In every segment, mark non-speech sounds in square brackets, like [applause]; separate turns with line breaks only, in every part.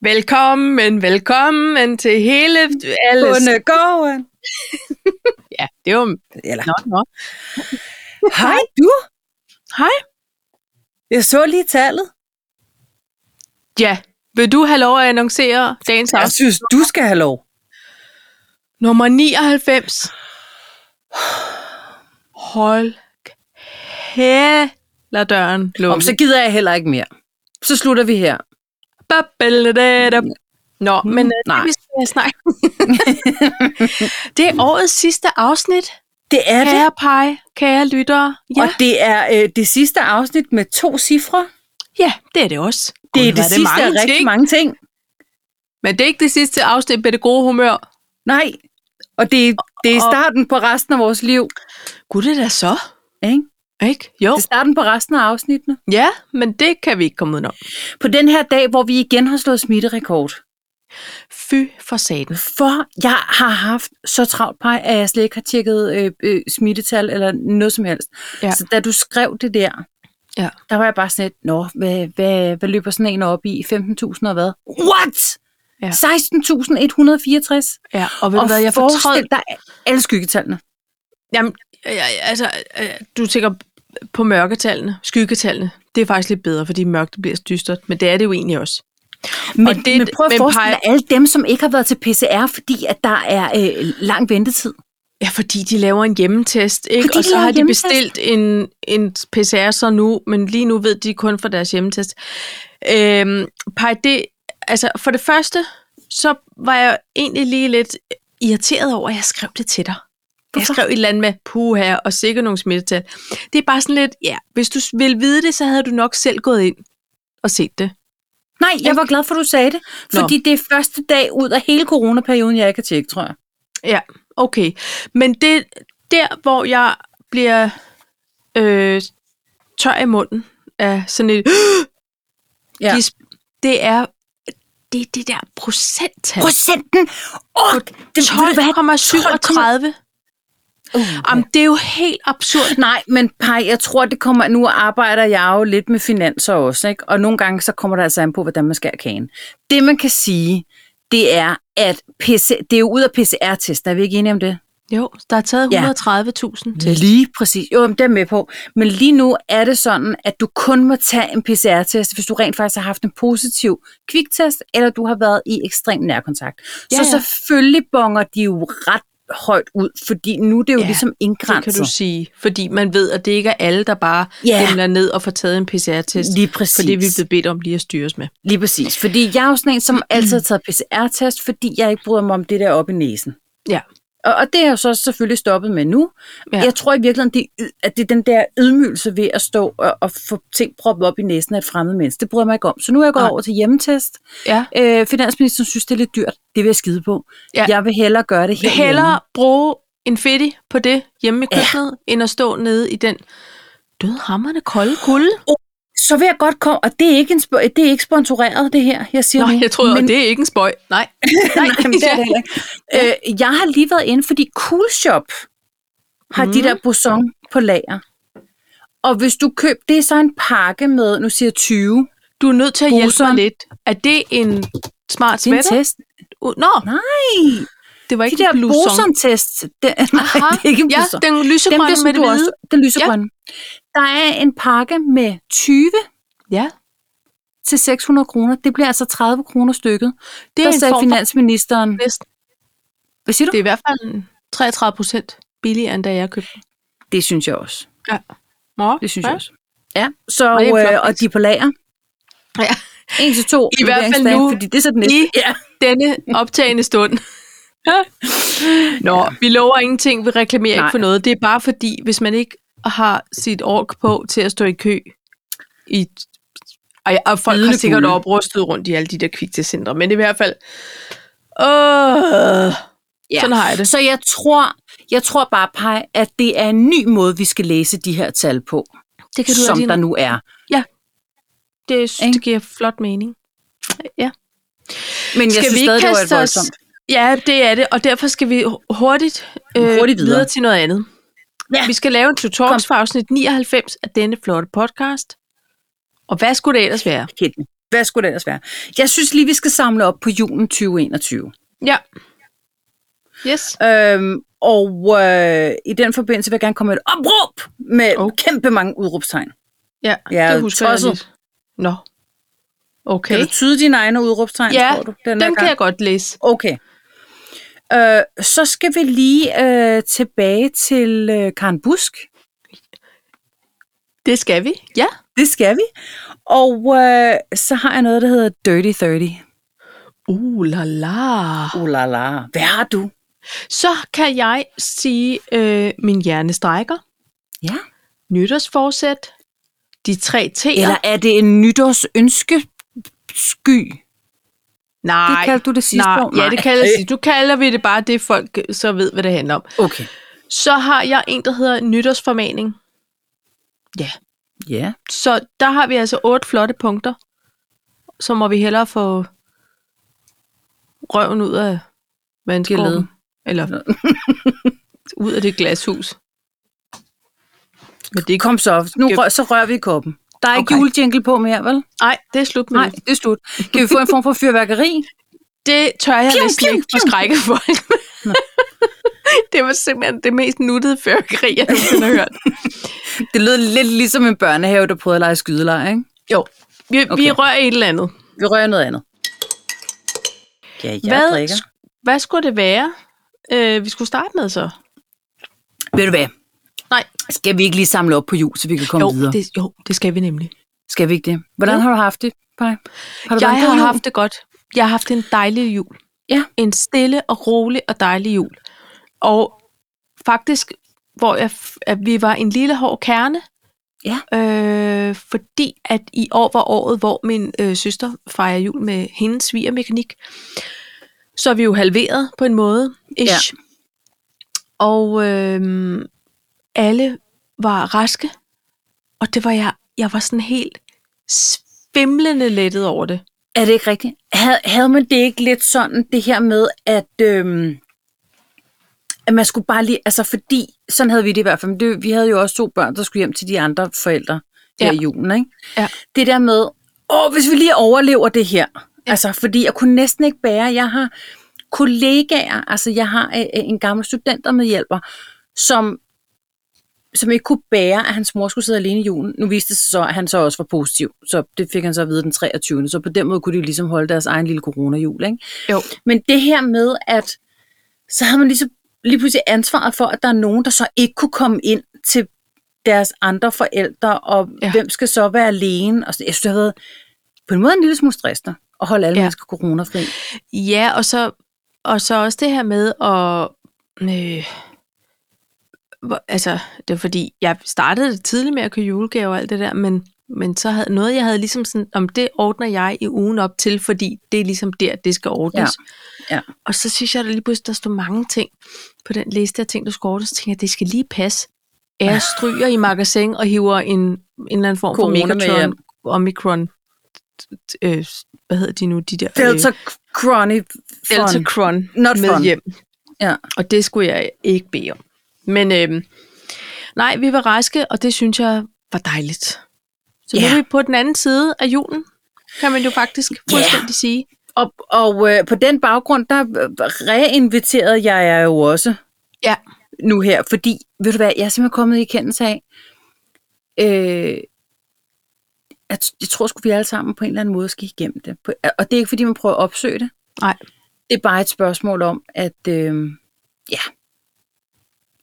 Velkommen, velkommen til hele alle...
Bundegården.
Ja, det er jo...
Eller,
Nå, nå.
hej du.
Hej.
Jeg så lige tallet.
Ja, vil du have lov at annoncere dagens
Jeg
afsnit?
synes, du skal have lov.
Nummer 99. Hold kæler døren
Om, så
lukket.
gider jeg heller ikke mere. Så slutter vi her.
Babbeladada. Nå, men øh,
Mm, Nej.
det vi skal snakke.
[laughs]
det er årets sidste afsnit,
Det er det.
kære pege, kære lyttere. Ja,
Og det er øh, det sidste afsnit med to cifre.
ja, det er det også.
Det
Gud,
er
hvor
det, sidste af
mange
rigtig
ting.
mange ting.
Men det er ikke det sidste afsnit med det gode humør.
Nej. Og det, det er
Og-
starten på resten af vores liv.
Gud, det er da så.
Ikke?
Ikke? Jo.
Det er starten på resten af afsnittene.
Ja, men det kan vi ikke komme udenom.
På den her dag, hvor vi igen har slået smitterekord.
Fy for satan.
For jeg har haft så travlt på, at jeg slet ikke har tjekket øh, øh, smittetal eller noget som helst.
Ja.
Ja. Så da du skrev det der,
Ja.
der var jeg bare sådan lidt, nå, hvad, hvad, hvad løber sådan en op i? 15.000 og hvad? What?
Ja.
Ja. 16.164.
Ja, og ved du
Og
hvad, jeg fortrød...
forestil dig alle skyggetallene.
Jamen, jeg, altså, øh, du tænker på mørketallene, skyggetallene. Det er faktisk lidt bedre, fordi mørkt bliver dystert, men det er det jo egentlig også.
Men,
Og det-
det, men prøv at
men
men forestille
peger-
dig alle dem, som ikke har været til PCR, fordi at der er øh, lang ventetid.
Ja, fordi de laver en hjemmetest, ikke?
Fordi
og
de
så
laver
har de
hjemmetest.
bestilt en, en PCR så nu, men lige nu ved de kun fra deres hjemmetest. Øhm, Paj, det, altså for det første, så var jeg egentlig lige lidt irriteret over, at jeg skrev det til dig. Jeg
Hvorfor?
skrev et eller andet med puha og sikkert nogle smittetal. Det er bare sådan lidt, ja, hvis du ville vide det, så havde du nok selv gået ind og set det.
Nej, jeg var glad for, at du sagde det,
Nå.
fordi det er første dag ud af hele coronaperioden, jeg ikke har tjekket, tror jeg.
Ja, okay. Men det der, hvor jeg bliver øh, tør i munden af sådan et...
Ja.
Ja. Det er det, er det der procenttal.
procenten. Åh, oh, det vil du være.
12,37. Jamen, det er jo helt absurd.
Nej, men Paj, jeg tror, det kommer... Nu arbejder jeg jo lidt med finanser også, ikke? Og nogle gange, så kommer der altså an på, hvordan man skærer kagen. Det, man kan sige, det er, at PC, det er jo ud af PCR-testen. Er vi ikke enige om det?
Jo, der er taget
Ja.
130.000 til.
Lige præcis. Jo, men det er jeg med på. Men lige nu er det sådan, at du kun må tage en PCR-test, hvis du rent faktisk har haft en positiv kviktest, eller du har været i ekstrem nærkontakt.
Ja,
Ja, så
ja.
selvfølgelig bonger de jo ret højt ud, fordi nu er det jo
Ja,
ja, ligesom
Det kan
indgrænset.
du sige, fordi man ved, at det ikke er alle, der bare
Ja.
yeah. ned og får taget en PCR-test.
Lige præcis.
For det er vi blevet bedt om lige at styres med.
Lige præcis. Fordi jeg er jo sådan en, som altid har taget PCR-test, fordi jeg ikke bryder mig om det der op i næsen.
Ja.
Og, og det er jeg jo så selvfølgelig stoppet med nu.
Ja.
Ja. Jeg tror i virkeligheden, det er, yd- at det er den der ydmygelse ved at stå og, og få ting proppet op i næsen af et fremmed menneske. Det bryder jeg mig ikke om. Så nu er jeg gået
Nej.
over til hjemmetest.
Ja.
Øh, finansministeren synes, det er lidt dyrt. Det vil jeg skide på.
Ja.
Ja. Jeg vil hellere gøre det
vil
helt
hellere bruge en fedtig på det hjemme i køkkenet, ja. end at stå nede i den dødhammerne kolde kulde.
Så vil jeg godt komme, og det er ikke, en spo- det er ikke sponsoreret, det her, jeg siger
Nå,
nu.
jeg troede,
Men-
men... det er ikke en spøj. [laughs] Nej.
Nej, men det er det heller ikke. Øh, jeg har lige været inde, fordi Cool Shop har mm.
Mhm.
de der boson på lager. Og hvis du køber, det er så en pakke med, nu siger jeg 20.
Du er nødt til at hjælpe mig
Bruseren.
lidt. Er det en smart
Det er en
sweater?
test.
Uh, Nå,
Nej,
det var
de
ikke
der
en bluson.
boson-test. Det, [laughs] nej,
Aha.
det er ikke en
Ja,
bluson.
den
Dem der,
lysegrønne
som
med det
du også,
hvide.
den lysegrønne. Der er en pakke med 20
Ja,
til 600 kroner. Det bliver altså 30 kroner stykket.
det er
der
en
sagde
form for
finansministeren,
bedst.
hvad siger du?
Det er i hvert fald en 33 procent billigere, end da jeg købte. den.
det synes jeg også.
Ja. Nå,
Det synes
ja.
jeg også. Ja, så,
Og det er en flot
øh, og de er på lager.
Ja.
En til to.
I hvert fald
leveringsdage,
nu.
Fordi det er så den næste.
I-
Ja.
denne optagende stund. [laughs] Nå, ja. vi lover ingenting, vi reklamerer Nej.
Nej.
ikke for noget. Det er bare fordi, hvis man ikke har sit ork på til at stå i kø, i, og, og folk har
Bidende
sikkert
kulde.
oprustet rundt i alle de der kviktestcentre, men i hvert fald, åh, ja.
Ja.
sådan har jeg det.
Så jeg tror, jeg tror bare, Paj, at det er en ny måde, vi skal læse de her tal på,
Det
som der nu er.
det, synes,
Ikke?
det giver flot mening. Ja.
Men jeg
Skal
synes
vi ikke
stadig, det var et
kaste os?
voldsomt.
Ja, det er det, og derfor skal vi hu- hurtigt, øh,
Hurtigt videre.
videre til noget andet.
Ja.
Vi skal lave en tutorial for afsnit 99 af denne flotte podcast. Og hvad skulle det ellers være?
Kitten. Hvad skulle det ellers være? Jeg synes lige, vi skal samle op på julen 2021.
Ja. Yes.
Øhm, og øh, i den forbindelse vil jeg gerne komme med et opråb med
Oh.
oh. kæmpe mange udråbstegn.
Ja,
Jeg er
det husker
tosset.
jeg lidt. Nå. Okay.
Kan du tyde dine egne udråbstegn,
Ja,
tror du? Den
Dem kan jeg godt læse.
Okay. Øh, så skal vi lige øh, tilbage til øh, Karen Busk.
Det skal vi. Ja.
Det skal vi. Og øh, så har jeg noget, der hedder Dirty 30.
Uh, la la.
Uh, la, la. Hvad har du?
Så kan jeg sige, øh, min hjerne strækker,
Ja.
nytårsforsæt, de tre T'er.
Eller er det en nytårsønske sky?
nej,
det kaldte du det sidste
nej,
år.
Ja,
Nej.
det kalder, du kalder vi det bare det, folk så ved, hvad det handler om.
Okay.
Så har jeg en, der hedder nytårsformaning.
Ja.
Så der har vi altså otte flotte punkter. Så må vi hellere få røven ud af
Gildet.
vandskorben. Eller [laughs] ud af det glashus. Men det er ikke...
Kom så. Nu
Skal-
rør, så rører vi i koppen. Mm. Der er ikke
Okay.
julejingle på mere, vel?
Nej, det er slut med
Nej,
det.
det er slut. Kan vi få en form for fyrværkeri?
Det tør jeg
Piu,
næsten
piu,
ikke
piu.
forskrække [laughs] folk. det var simpelthen det mest nuttede fyrkeri, jeg nogensinde har hørt.
[laughs] Det lød lidt ligesom en børnehave, der prøvede at lege skydeleje, ikke?
Jo, vi, okay. vi
Okay.
rører et eller andet.
Vi rører noget andet. Ja, jeg
hvad,
drikker.
hvad skulle det være, øh, vi skulle starte med så?
Ved du hvad?
Nej.
Skal vi ikke lige samle op på jul, så vi kan komme
Jo
videre? Det...
det, jo, det skal vi nemlig.
Skal vi ikke det? Hvordan
Jo.
har du haft det, Paj? Har du været
Jeg
en god
har
jul?
haft det godt. Jeg har haft en dejlig jul.
Ja.
En stille og rolig og dejlig jul. Og faktisk, hvor jeg, f- at vi var en lille hård kerne.
Ja.
Øh, fordi at i år var året, hvor min øh, søster fejrer jul med hendes svigermekanik. Så er vi jo halveret på en måde. Ish. Ja. Og øh, alle var raske. Og det var jeg, jeg var sådan helt svimlende lettet over det.
Er det ikke rigtigt? Havde, havde man det ikke lidt sådan, det her med, at, øhm, at man skulle bare lige, altså fordi, sådan havde vi det i hvert fald, men det, vi havde jo også to børn, der skulle hjem til de andre forældre
Ja.
her ja. i julen, ikke?
Ja.
Det der med, åh, hvis vi lige overlever det her, ja. altså fordi jeg kunne næsten ikke bære, jeg har kollegaer, altså jeg har øh, øh, en gammel studenter med hjælper, som som ikke kunne bære, at hans mor skulle sidde alene i julen. Nu viste det sig så, at han så også var positiv, så det fik han så at vide den 23. Så på den måde kunne de jo ligesom holde deres egen lille coronajul. Ikke?
Jo.
Men det her med, at så havde man ligesom, lige pludselig ansvaret for, at der er nogen, der så ikke kunne komme ind til deres andre forældre, og
Ja.
ja. hvem skal så være alene? Og så, jeg synes, det har været på en måde en lille smule stressende at holde alle
Ja.
ja. mennesker coronafri.
Ja, og så, og så også det her med at... Øh, hvor- altså, det var fordi, jeg startede det tidligt med at købe julegaver og alt det der, men, men så havde noget, jeg havde ligesom sådan, om det ordner jeg i ugen op til, fordi det er ligesom der, det skal ordnes.
Ja, ja.
Og så synes jeg, at der lige pludselig, der stod mange ting på den liste af ting, du skal ordnes, så tænker jeg, det skal lige passe. Er Jeg stryger i magasin og hiver en, en eller anden form for
Corona med
Megatron,
hjem.
Omikron, t- t- øh, hvad hedder de nu, de der? øh,
Delta Crony
Delta
Fund.
Cron
Not
med
fun.
hjem.
Ja.
Og det skulle jeg ikke bede om. Men øhm, nej, vi var raske, og det synes jeg var dejligt. Så nu
Ja.
er vi på den anden side af julen, kan man jo faktisk fuldstændig sige.
Og, og øh, på den baggrund, der øh, reinviterede jeg jer jo også
Ja.
nu her, fordi, ved du hvad, jeg er simpelthen kommet i kendelse af, øh, at jeg tror sgu, vi alle sammen på en eller anden måde skal igennem det. På- øh, Og det er ikke, fordi man prøver at opsøge det.
Nej.
Det er bare et spørgsmål om, at øh, ja,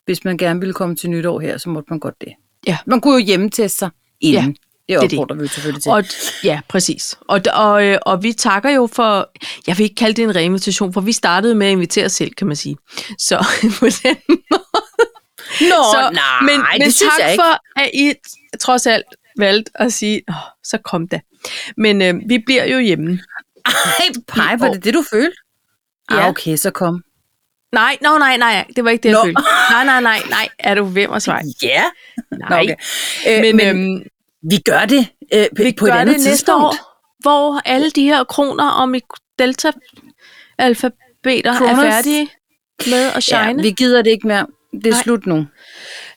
hvis man gerne ville komme til nytår her, så måtte man godt det.
Ja.
Man kunne jo hjemmeteste sig inden. Ja,
det er
det
det.
opfordrer vi jo selvfølgelig til.
Og, ja, præcis. Og, og, øh, og vi takker jo for, jeg vil ikke kalde det en reinvitation, for vi startede med at invitere os selv, kan man sige. Så [laughs] på den
Nå,
så, men, men tak
ikke.
for, at I trods alt valgte at sige, Åh, så kom da. Men øh, vi bliver jo hjemme.
Ej, pej, var det det, du følte?
Ja.
Ah, okay, så kom.
Nej, no, nej, nej, nej, det var ikke det, jeg
Nå.
følte. Nej, nej, nej, nej, er du ved mig, Svej?
Ja. Nå,
Nej,
okay. Øh,
men,
men,
men
øhm,
øhm,
vi gør det øh, på,
vi
på et
gør
andet
det næste
tidspunkt.
år, hvor alle de her kroner om i delta-alfabeter er
Kroner-
færdige med at shine.
Ja, vi gider det ikke mere. Det
Nej.
er Nej. slut nu.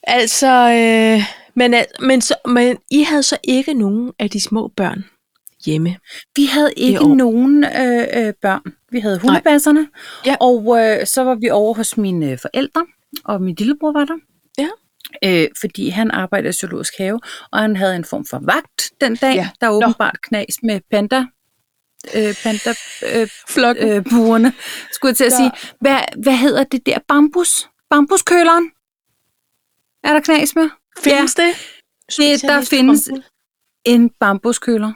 Altså, øh, men, al- men, så, men I havde så ikke nogen af de små børn. hjemme.
Vi havde ikke
år.
nogen øh, øh, børn. Vi havde hundebasserne,
Ja.
og øh, så var vi over hos mine øh, forældre, og min lillebror var der.
Ja.
Øh, fordi han arbejdede i zoologisk have, og han havde en form for vagt den dag.
Ja.
Ja. Der er åbenbart knas med panda, øh, panda øh,
Flokken.
øh, buerne, skulle jeg til at
Der-
sige. Hvad, hvad hedder det der? Bambus? Bambuskøleren? Er der knas med?
Findes det?
Det, der findes en bambuskøler.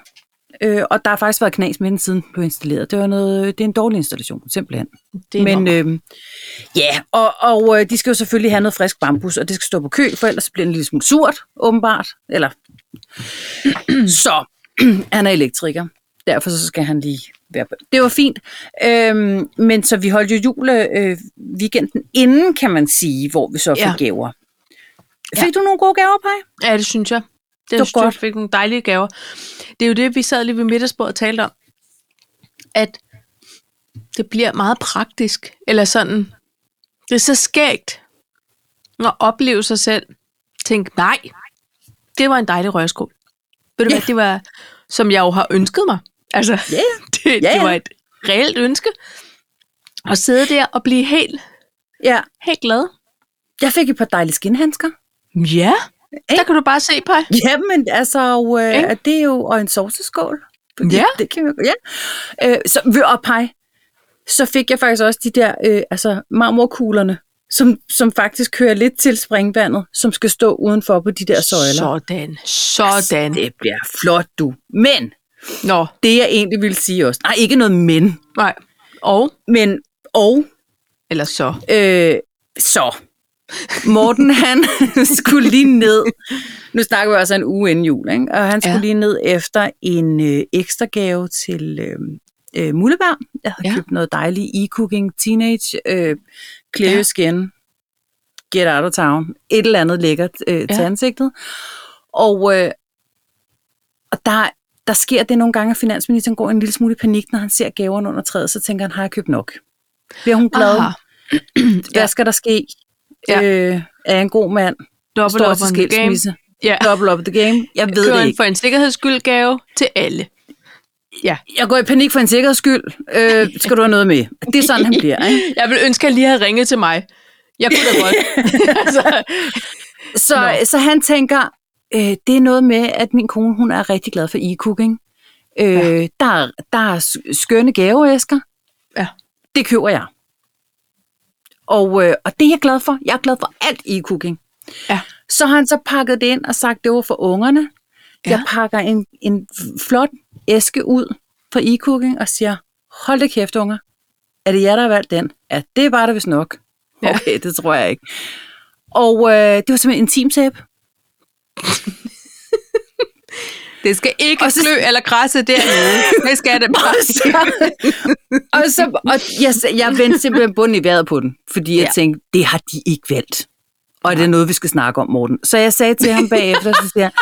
Øh, og der har faktisk været knas med den, siden den blev installeret. Det, var noget, det er en dårlig installation, simpelthen.
Det er
Men
Men, øh,
øh, ja, og, og øh, de skal jo selvfølgelig have noget frisk bambus, og det skal stå på kø, for ellers bliver den en lille smule surt, åbenbart. Eller. [clears throat] så, [clears throat] han er elektriker. Derfor så skal han lige være på. Det var fint. Øhm, men så vi holdt jo jule øh, weekenden inden, kan man sige, hvor vi så fik
Ja.
ja. gaver. Fik ja. du nogle gode gaver, Paj?
ja, det synes jeg. Det, det
var
synes, godt.
godt.
Du fik nogle dejlige gaver. Det er jo det, vi sad lige ved middagsbordet og talte om. At det bliver meget praktisk. Eller sådan. Det er så skægt at opleve sig selv. Tænk, nej, det var en dejlig røgskål. Ved du
Ja.
hvad, det var, som jeg jo har ønsket mig. Altså,
Ja, ja.
[laughs] det, det
Ja, ja.
var et reelt ønske. At sidde der og blive helt,
Ja,
helt glad.
jeg fik et par dejlige skinhandsker.
Ja, der kan du bare se, Paj.
Jamen, altså, og, øh,
Ikke?
og det er jo og en sovseskål. Fordi
Ja.
Det kan vi, ja. Øh, så ved at pege, så fik jeg faktisk også de der øh, altså marmorkuglerne, som, som faktisk kører lidt til springvandet, som skal stå udenfor på de der søjler.
Sådan. Sådan.
Det bliver flot, du. Men
Nå,
det jeg egentlig ville sige også, nej, ikke noget men,
nej. Og,
men og
eller så.
Øh, så. Morten, han [laughs] skulle lige ned. Nu snakker vi også en uge inden jul, ikke? Og han skulle
Ja.
ja. lige ned efter en øh, ekstra gave til øh, øh, Mullebær. Jeg
Ja.
havde ja. købt noget dejligt e-cooking teenage øh, clear
Ja.
ja. skin. Get out of town. Et eller andet lækkert øh, til
Ja.
ansigtet. Og, øh, og der, der sker det nogle gange, at finansministeren går en lille smule i panik, når han ser gaverne under træet, så tænker han, har jeg købt nok? Bliver hun glad?
Aha.
hvad skal der ske?
Ja.
Ja. Øh, er en god mand?
Dobbelt
Står
op
til
on the game.
skilsmisse?
Ja.
Double up the game? Jeg
[laughs]
ved
Køber
det
en
ikke.
for en sikkerheds skyld gave til alle.
Jeg går i panik for en sikkerheds skyld. Øh, skal du have noget med? Det er sådan, han bliver. Ikke?
Jeg vil ønske, at han lige havde ringet til mig. Jeg kunne da
[laughs]
godt. altså,
Så,
Nå.
så han tænker, øh, det er noget med, at min kone hun er rigtig glad for e-cooking. Øh,
Ja.
ja. der, er- der er s- skønne gaveæsker.
Ja.
Det køber jeg. Og, øh, og det er jeg glad for. Jeg er glad for alt e-cooking.
Ja.
Så har han så pakket det ind og sagt, det var for ungerne.
Ja.
Ja. Jeg pakker en, en flot æske ud for e-cooking og siger, hold da kæft, unger. Er det jer, der har valgt den? Ja, det var det vist nok.
Ja.
Okay, det tror jeg ikke. Og øh, det var simpelthen intimsæbe.
det skal ikke
Og så-
klø eller græsse dernede. Det skal det bare.
og, så, og jeg, jeg vendte simpelthen bunden i vejret på den, fordi jeg
Ja.
ja. tænkte, det har de ikke valgt. Og det er noget, vi skal snakke om, Morten. Så jeg sagde til ham bagefter, så siger jeg,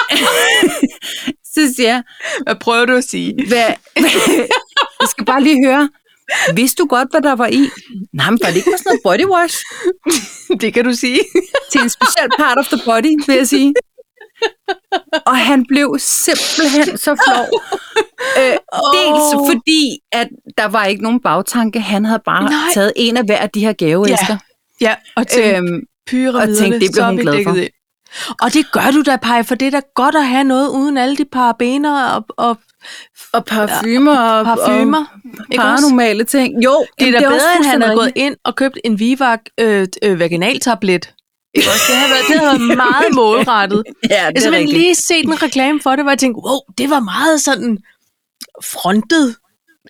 [laughs] så siger jeg,
Hvad prøver du at sige? [laughs]
hvad, jeg skal bare lige høre, vidste du godt, hvad der var i? Nej, men var det ikke bare sådan noget body wash?
Det kan du sige.
til en speciel part of the body, vil jeg sige. Og han blev simpelthen så
[laughs]
flov. Øh, dels
Åh.
fordi, at der var ikke nogen bagtanke. Han havde bare
Nej.
Nej. taget en af hver af de her gaveæsker.
Ja, og til
Ja.
øhm,
Øhm,
pyramiderne,
og tænkte, det blev
så er
hun
vi
glad for.
dækket ind. Og det gør du da, Paj, for det er da godt at have noget uden alle de parabener og, og
og parfumer og,
parfumer.
og
ikke også?
paranormale ting. Jo,
Det er da
også
bedre, end han
fuldstændig
havde gået
rigtigt.
ind og købt en Vivac øh, øh, vaginaltablet. Ikke også? Det havde været, det havde været meget målrettet.
Ja,
Jeg har
[laughs] det er
simpelthen
rigtigt.
lige set en reklame for det, hvor jeg tænkte, wow, det var meget sådan frontet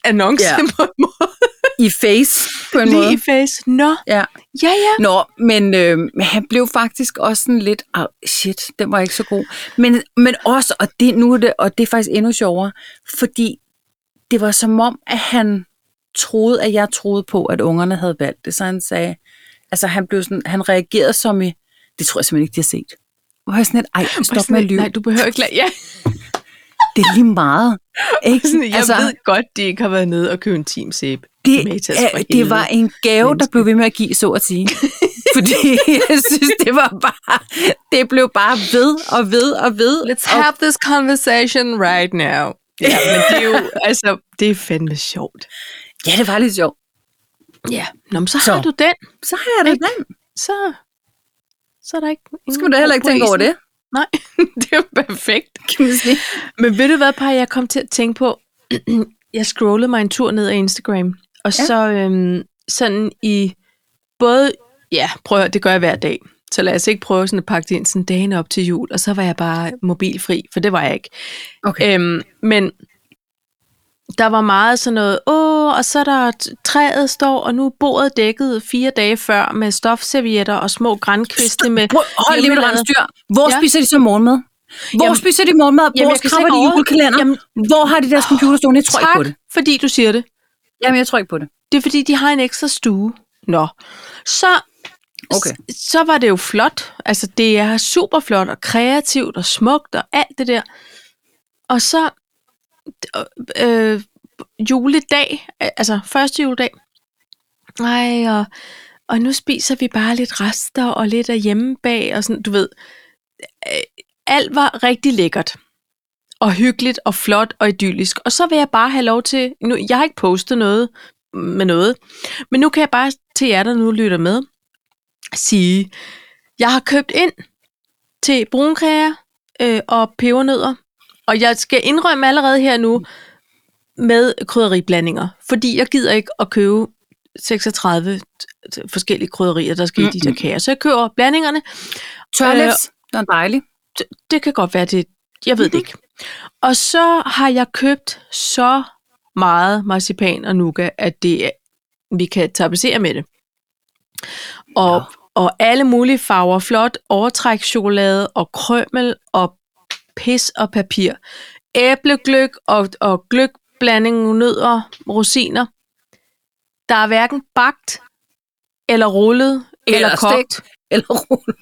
annonce ja.
Ja.
på en måde.
I face, på en
Lige
måde.
i face. Nå,
Ja.
ja, ja.
Nå, men øh, han blev faktisk også sådan lidt, oh, shit, den var ikke så god. Men, men også, og det, nu er det, og det er faktisk endnu sjovere, fordi det var som om, at han troede, at jeg troede på, at ungerne havde valgt det. Så han sagde, altså han blev sådan, han reagerede som i, det tror jeg simpelthen ikke, de har set. Og jeg var sådan lidt, ej,
Og
stop
sådan
med at
lidt,
lyve.
Nej, du behøver ikke lade. Ja,
Det er lige
[laughs]
meget. Ikke?
sådan, jeg altså, ved godt, de ikke har været nede og købe en teamsæbe.
Det, er, det var en gave, der
menneske.
blev ved med at give, så at [laughs] sige. Fordi jeg synes, det var bare, det blev bare ved og ved og ved.
Let's
og,
have this conversation right now. Ja, men det er
[laughs]
jo, altså, det er fandme sjovt.
Ja, det var lidt sjovt.
Ja, Nå, men så,
Så.
har du den,
Så har jeg det
Ikke?
den.
så, så er der ikke... ingen
Skal du da heller
ko
ikke
på
tænke over
isen.
det?
Nej, [laughs] det er jo perfekt.
Kan man sige.
Men ved du hvad, par jeg kom til at tænke på? [clears throat] jeg scrollede mig en tur ned ad Instagram, og
Ja.
ja. så øhm, sådan i både... Ja, prøv at høre, det gør jeg hver dag. Så lad os ikke prøve sådan at pakke det ind sådan dagen op til jul, og så var jeg bare mobilfri, for det var jeg ikke.
Okay.
Øhm, men der var meget sådan noget, åh, og så er der t- træet står, og nu er bordet dækket fire dage før med stofservietter og små grænkviste med...
Prøv, hold lige med
hjemmelavet-
styr. Hvor
Ja.
spiser de så morgenmad? Hvor
Jamen-
spiser de morgenmad? Hvor
Jamen, jeg kan
skriver
slet
de
ikke over-
julekalender?
Jamen,
Hvor har de deres computer stående? Jeg tror
tak,
ikke på det.
fordi du siger det.
Jamen, jeg tror ikke på det.
Det er fordi, de har en ekstra stue. Nå. Så,
Okay.
s- så var det jo flot. Altså, det er super flot og kreativt og smukt og alt det der. Og så øh, juledag, øh, altså første juledag. Nej, og, og nu spiser vi bare lidt rester og lidt af hjemmebag og sådan, du ved. Øh, alt var rigtig lækkert og hyggeligt og flot og idyllisk. Og så vil jeg bare have lov til, nu, jeg har ikke postet noget med noget, men nu kan jeg bare til jer, der nu lytter med, sige, jeg har købt ind til brunkager øh, og pebernødder, og jeg skal indrømme allerede her nu med krydderiblandinger, fordi jeg gider ikke at købe 36 t- forskellige krydderier, der skal i de der kager. Så jeg køber blandingerne,
Tørlæs, den Øh, er dejlig.
det kan godt være det. Jeg ved
Mhm.
det ikke. Og så har jeg købt så meget marcipan og nougat, at det er, vi kan tapetsere med det. Og, og alle mulige farver. Flot overtrækschokolade og krømmel og pis og papir. Æblegløk og, og gløkblanding, nødder, rosiner. Der er hverken bagt eller rullet eller, eller kogt.
stegt, eller rullet,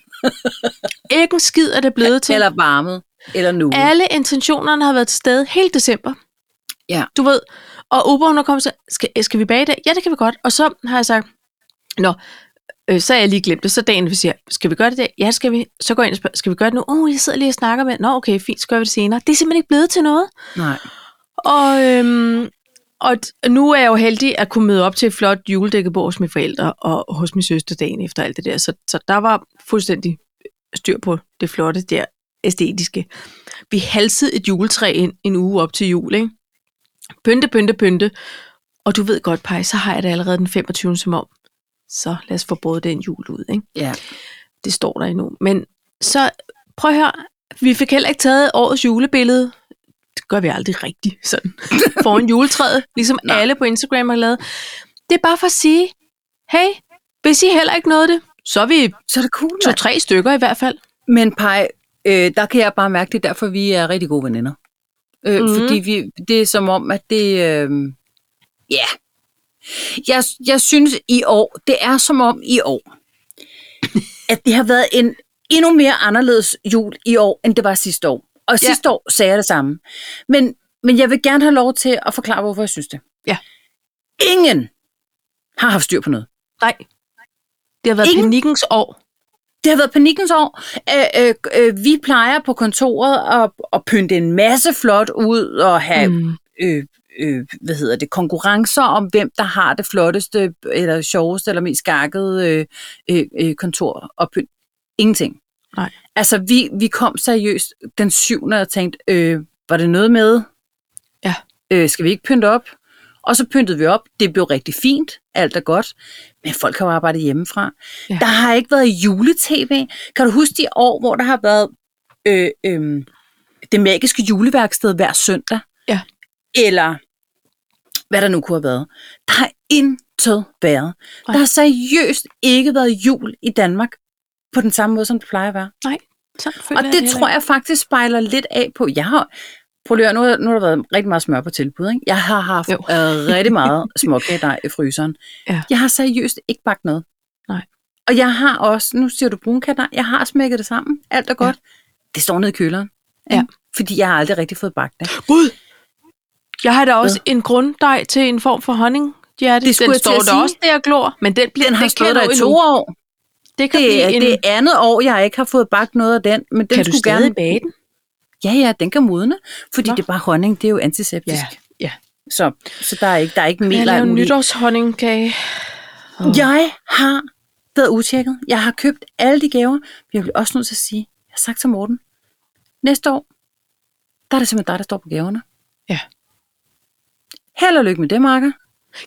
Ikke en skid er det blevet til.
eller varmet, eller nu.
Alle intentionerne har været til stede hele december.
Ja.
Du ved, og Uber, hun er kommet og sagt, skal, skal vi bage i dag? Ja, det kan vi godt. Og så har jeg sagt, nå, øh, så er jeg lige glemt det. Så dagen, vi siger, skal vi gøre det i dag? Ja, det skal vi. Så går jeg ind og spørger, skal vi gøre det nu? Åh, oh, jeg sidder lige og snakker med, nå okay, fint, så gør vi det senere. Det er simpelthen ikke blevet til noget.
Nej.
Og, øhm, og t- nu er jeg jo heldig at kunne møde op til et flot juledækkebord hos mine forældre og hos min søster dagen efter alt det der. Så, så der var fuldstændig styr på det flotte der æstetiske. Vi halsede et juletræ ind en uge op til jul, ikke? Pynte, pynte, pynte. Og du ved godt, Paj, så har jeg det allerede den 25. som om. Så lad os få både den jul ud, ikke?
Ja.
Det står der endnu. Men så prøv at høre, vi fik heller ikke taget årets julebillede. Det gør vi aldrig rigtigt, sådan. [laughs] Foran juletræet, ligesom
Nej.
alle på Instagram har lavet. Det er bare for at sige, hey, hvis I heller ikke nåede det, så er vi
Så er det cool, mand.
to-tre stykker i hvert fald.
Men Paj, øh, der kan jeg bare mærke, det er derfor, vi er rigtig gode veninder. Øh,
Mhm.
mm-hmm. Fordi vi, det er som om, at det... Øh, ja. Jeg, jeg synes i år, det er som om i
[laughs]
år, at det har været en endnu mere anderledes jul i år, end det var sidste år. Og
Ja.
sidste år sagde jeg det samme. Men, men jeg vil gerne have lov til at forklare, hvorfor jeg synes det.
Ja.
Ingen har haft styr på noget.
Nej. Det har været
Ingen-
Ingen. panikkens år.
Det har været panikkens år. Øh, øh, øh, vi plejer på kontoret at, at pynte en masse flot ud og have mm. øh, øh, hvad hedder det, konkurrencer om, hvem der har det flotteste, eller sjoveste, eller mest skakkede øh, øh, øh, kontor og pynt. Ingenting.
Nej.
Altså, vi, vi kom seriøst den syvende og tænkte, øh, var det noget med?
Ja.
Øh, skal vi ikke pynte op? Og så pyntede vi op. Det blev rigtig fint. Alt er godt. Men folk har jo arbejdet hjemmefra.
Ja.
Der har ikke været juletv. Kan du huske de år, hvor der har været øh, øh, det magiske juleværksted hver søndag?
Ja.
Eller hvad der nu kunne have været. Der har intet været.
Nej.
Der har seriøst ikke været jul i Danmark på den samme måde, som det plejer at være.
Sådan føler
Og
jeg
det, det tror jeg faktisk spejler lidt af på. Jeg har, prøv lige at høre, nu, har- nu har der været rigtig meget smør på tilbud. Ikke? Jeg har haft
Jo.
øh, rigtig
[laughs]
meget småkagedej i fryseren.
Ja.
Jeg har seriøst ikke bagt noget.
Nej.
Og jeg har også, nu siger du brunkagedej, jeg har smækket det sammen. Alt er godt. Det står nede i køleren. ikke?
Ja.
Fordi jeg har aldrig rigtig fået bagt det.
Gud! Jeg har da også en grunddej til en form for honning. Ja,
Det
det,
skulle
den
jeg til
står
at
der
sige.
også der og glor, men den, bliver,
Den har
den
stået
kan
der
nå
i
endnu.
to år.
Det kan
Det er
blive en...
det andet år, jeg ikke har fået bagt noget af den. Men den
kan du
skulle
stadig
gerne...
bage den?
Ja, ja, den kan modne, fordi
Nå.
Nå. det er bare honning, det er jo antiseptisk.
Ja, ja.
Så, så der er ikke, der er ikke mel
Jeg
og
laver
alt
en
muligt.
nytårshonningkage.
Jeg har været utjekket. Jeg har købt alle de gaver. Men jeg bliver også nødt til at sige, jeg har sagt til Morten, næste år, der er det simpelthen dig, der står på gaverne.
Ja.
Held og lykke med det, Marker.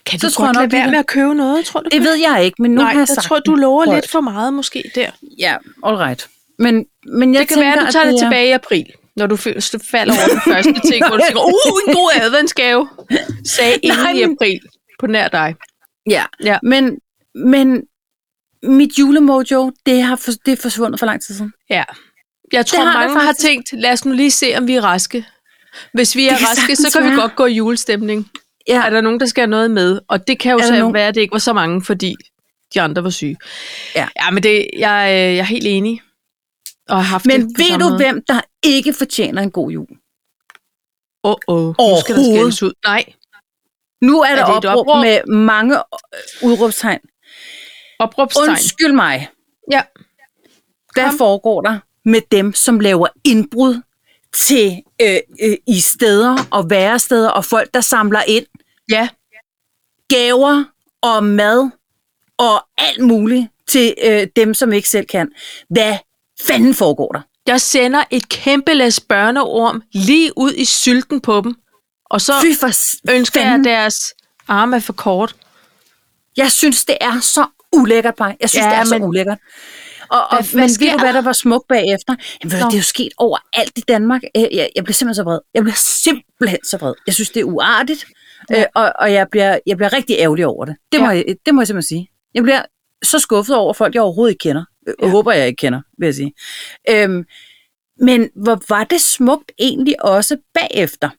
Kan
Så
du
tror
godt
jeg
lade
nok, vi
være
kan-
med at købe noget, tror du?
Det ved jeg ikke, men nu
Nej,
har jeg
jeg
sagt
tror, du lover
Prøv-
lidt for meget måske der.
Ja, all right. Men, men jeg
Det kan
tænker,
være, at du tager
at
det,
er-
tilbage i april, når du fø- s- falder over den første ting, hvor du tænker, uh, en god adventsgave, sagde
Nej,
ingen i
men-
april på nær dig.
Ja,
Ja.
ja. Men, men mit julemojo, det, har for, det er forsvundet for lang tid siden.
Ja. Jeg tror,
har det
mange har
faktisk.
tænkt, lad os nu lige se, om vi er raske. Hvis vi er
kan
raske, så
sagtens
kan vi
være.
godt gå i julestemning.
Ja.
Er der nogen, der skal have noget med? Og det kan jo
Er der
så
nogen-
være, at det ikke var så mange, fordi de andre var syge.
Ja.
ja men det, jeg, øh, jeg er helt enig. Og har haft
Men
det på
ved
samme
du,
måde.
hvem der ikke fortjener en god jul?
Åh, oh, oh. nu skal der
Overhovedet.
skældes ud. Nej,
Nu er, er der
det et
opråb,
opråb?
opråb med mange øh, udråbstegn.
opråbstegn.
Undskyld mig.
Ja.
Hvad
Kom.
foregår der med dem, som laver indbrud til øh, øh, i steder og væresteder og folk, der samler ind
Ja,
gaver og mad og alt muligt til øh, dem, som ikke selv kan. Hvad fanden foregår der?
Jeg sender et kæmpe læs børneorm lige ud i sylten på dem. Og så
Fy for s-
ønsker jeg,
fanden.
at deres arme er for kort.
Jeg synes, det er så ulækkert, bare. Jeg synes,
Ja,
ja, det er men...
men-
så ulækkert. Og, og
Hvad-
men
hvad
ved
sker
du, hvad
der?
der var smukt bagefter? Jamen, ved du,
Nå.
det er jo sket overalt i Danmark. Jeg, jeg, jeg bliver simpelthen så vred. Jeg bliver simpelthen så vred. Jeg synes, det er uartigt, ja. øh, og, og jeg, bliver, jeg bliver rigtig ærgerlig over det. Det, ja. må
Ja.
jeg, det må jeg simpelthen sige. Jeg bliver så skuffet over folk, jeg overhovedet ikke kender. Jeg
Ja.
håber, jeg ikke kender, vil jeg sige. Øhm, men hvor var det smukt egentlig også bagefter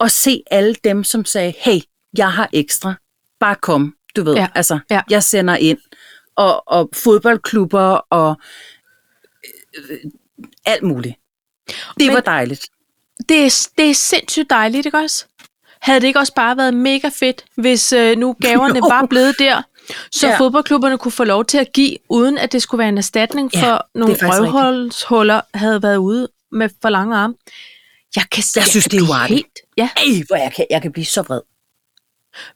at se alle dem, som sagde, hey, jeg har ekstra, bare kom, du ved,
Ja.
ja. altså,
Ja.
ja. jeg sender ind, og, og fodboldklubber og øh, alt muligt. Det
Men-
Men, var dejligt.
Det er, det er sindssygt dejligt, ikke også? Havde det ikke også bare været mega fedt, hvis øh, nu gaverne
[laughs] Jo.
var blevet der, så ja.
Ja.
fodboldklubberne kunne få lov til at give, uden at det skulle være en erstatning
Ja,
for
det er
nogle
faktisk rigtigt.
røvholdshuller, havde været ude med for lange arme. Jeg, kan,
Jeg synes,
kan
det er
blive
uartigt.
helt- Ja,
Ej, hvor jeg kan, jeg kan blive så vred.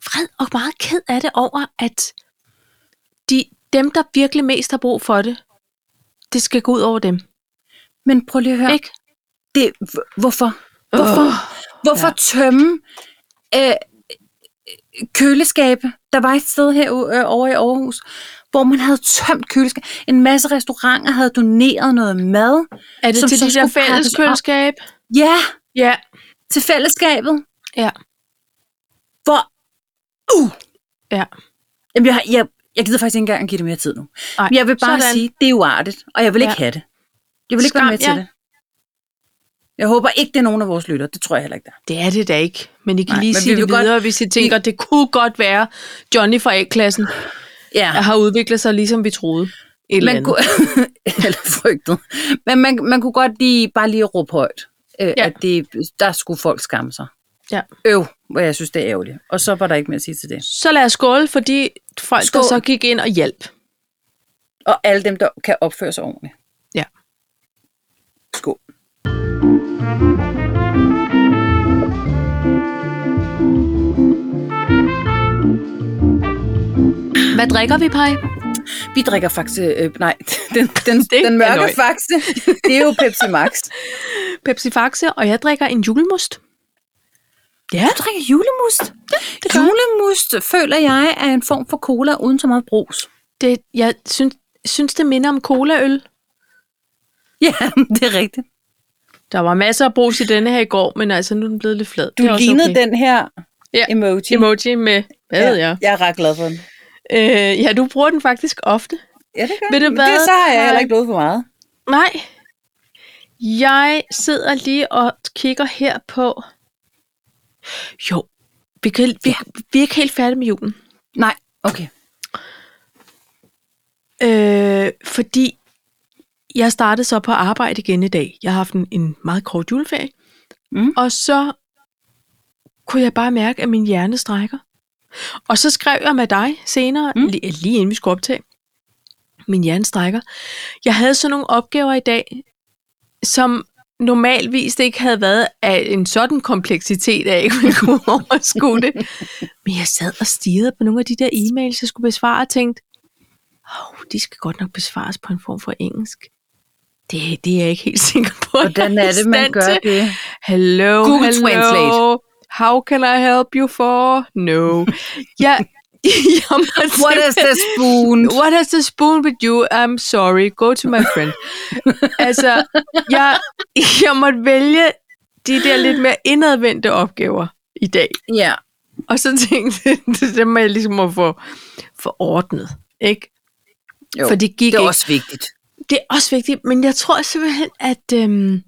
vred og meget ked af det over, at de, dem, der virkelig mest har brug for det, det skal gå ud over dem.
Men prøv lige at
Ja.
høre.
Ikke?
Det, h- hvorfor? Hvorfor,
Åh,
hvorfor
ja.
ja. tømme øh, køleskabe? Der var et sted her øh, over i Aarhus, hvor man havde tømt køleskab. En masse restauranter havde doneret noget mad.
Er det
Som
til
så
de der
skulle pakkes
fælles
op.
køleskab?
Ja,
Ja.
til fællesskabet.
Ja.
Hvor... Uh!
Ja.
Jamen, jeg, jeg, jeg gider faktisk ikke engang at give det mere tid nu.
Ej,
Men jeg vil bare
sådan.
sådan. sige, det er uartigt, og jeg vil ikke
Ja.
ja. have det. Jeg vil ikke
Skam,
være med til
ja.
det. Jeg håber ikke, det er nogen af vores lytter. Det tror jeg heller ikke, der.
Det er det da ikke. Men I kan Nej,
Nej,
lige
men
sige
vi
det
vil godt-
videre, godt... hvis I tænker, det kunne godt være, Johnny fra A-klassen
Ja.
har udviklet sig, ligesom vi troede. Et eller
man
andet.
kunne, [laughs] eller frygtet. Men man, man kunne godt lige, bare lige råbe højt, øh,
Ja.
ja. at det, der skulle folk skamme sig.
Ja.
Øv, hvor jeg synes, det er ærgerligt. Og så var der ikke mere at sige til det.
Så lad os skåle for de folk, Skål.
Skål.
der så gik ind og hjalp.
Og alle dem, der kan opføre sig ordentligt.
Ja.
Skål.
Hvad drikker vi, Paj?
Vi drikker faktisk, øh, nej, [laughs] den, den,
Det er
den mørke
løgn.
faxe, det er jo Pepsi [laughs] Max.
Pepsi Faxe, og jeg drikker en julemust. Ja,
Du drikker julemust?
det gør jeg.
Julemust føler jeg er en form for cola uden så meget brus.
Det, jeg synes, synes, det minder om colaøl.
Ja, [laughs] det er rigtigt.
Der var masser af brus i denne her i går, men altså nu er den blevet lidt flad.
Du
Det er også
lignede den her
Ja.
emoji.
emoji med, hvad ved jeg?
Jeg er ret glad for den.
Øh, ja, du bruger den faktisk ofte.
Ja, det gør
Ved du
Men
hvad?
Det, så har jeg heller ikke noget for meget.
Nej. Jeg sidder lige og kigger her på... Jo, vi, kan, vi, vi er ikke helt færdige med julen.
Nej, okay.
Øh, fordi jeg startede så på arbejde igen i dag. Jeg har haft en, en meget kort juleferie.
Mm.
Og så kunne jeg bare mærke, at min hjerne strækker. Og så skrev jeg med dig senere, mm.
Mm.
lige, lige inden vi skulle optage. Min hjerne strækker. Jeg havde sådan nogle opgaver i dag, som normalvis ikke havde været af en sådan kompleksitet, at jeg ikke ville kunne [laughs] overskue det. Men jeg sad og stirrede på nogle af de der e-mails, jeg skulle besvare, og tænkte, oh, de skal godt nok besvares på en form for engelsk. Det, det er jeg ikke helt sikker på. at jeg
Hvordan er
i
det, man
stand
gør
til.
det?
Hello,
Google
hello.
Translate.
How can I help you for?
[laughs]
No. jeg, [laughs] jeg måtte
What is
simpelthen-
the [laughs] spoon?
What has the spoon with you? I'm sorry. Go to my
[laughs]
friend. altså, jeg, jeg måtte vælge de der lidt mere indadvendte opgaver i dag.
Ja.
Og så tænkte jeg, [laughs] det må jeg ligesom at få, få ordnet. Ikke?
Jo,
For det gik
det er
ikke.
også vigtigt.
Det er også vigtigt, men jeg tror simpelthen, at øhm,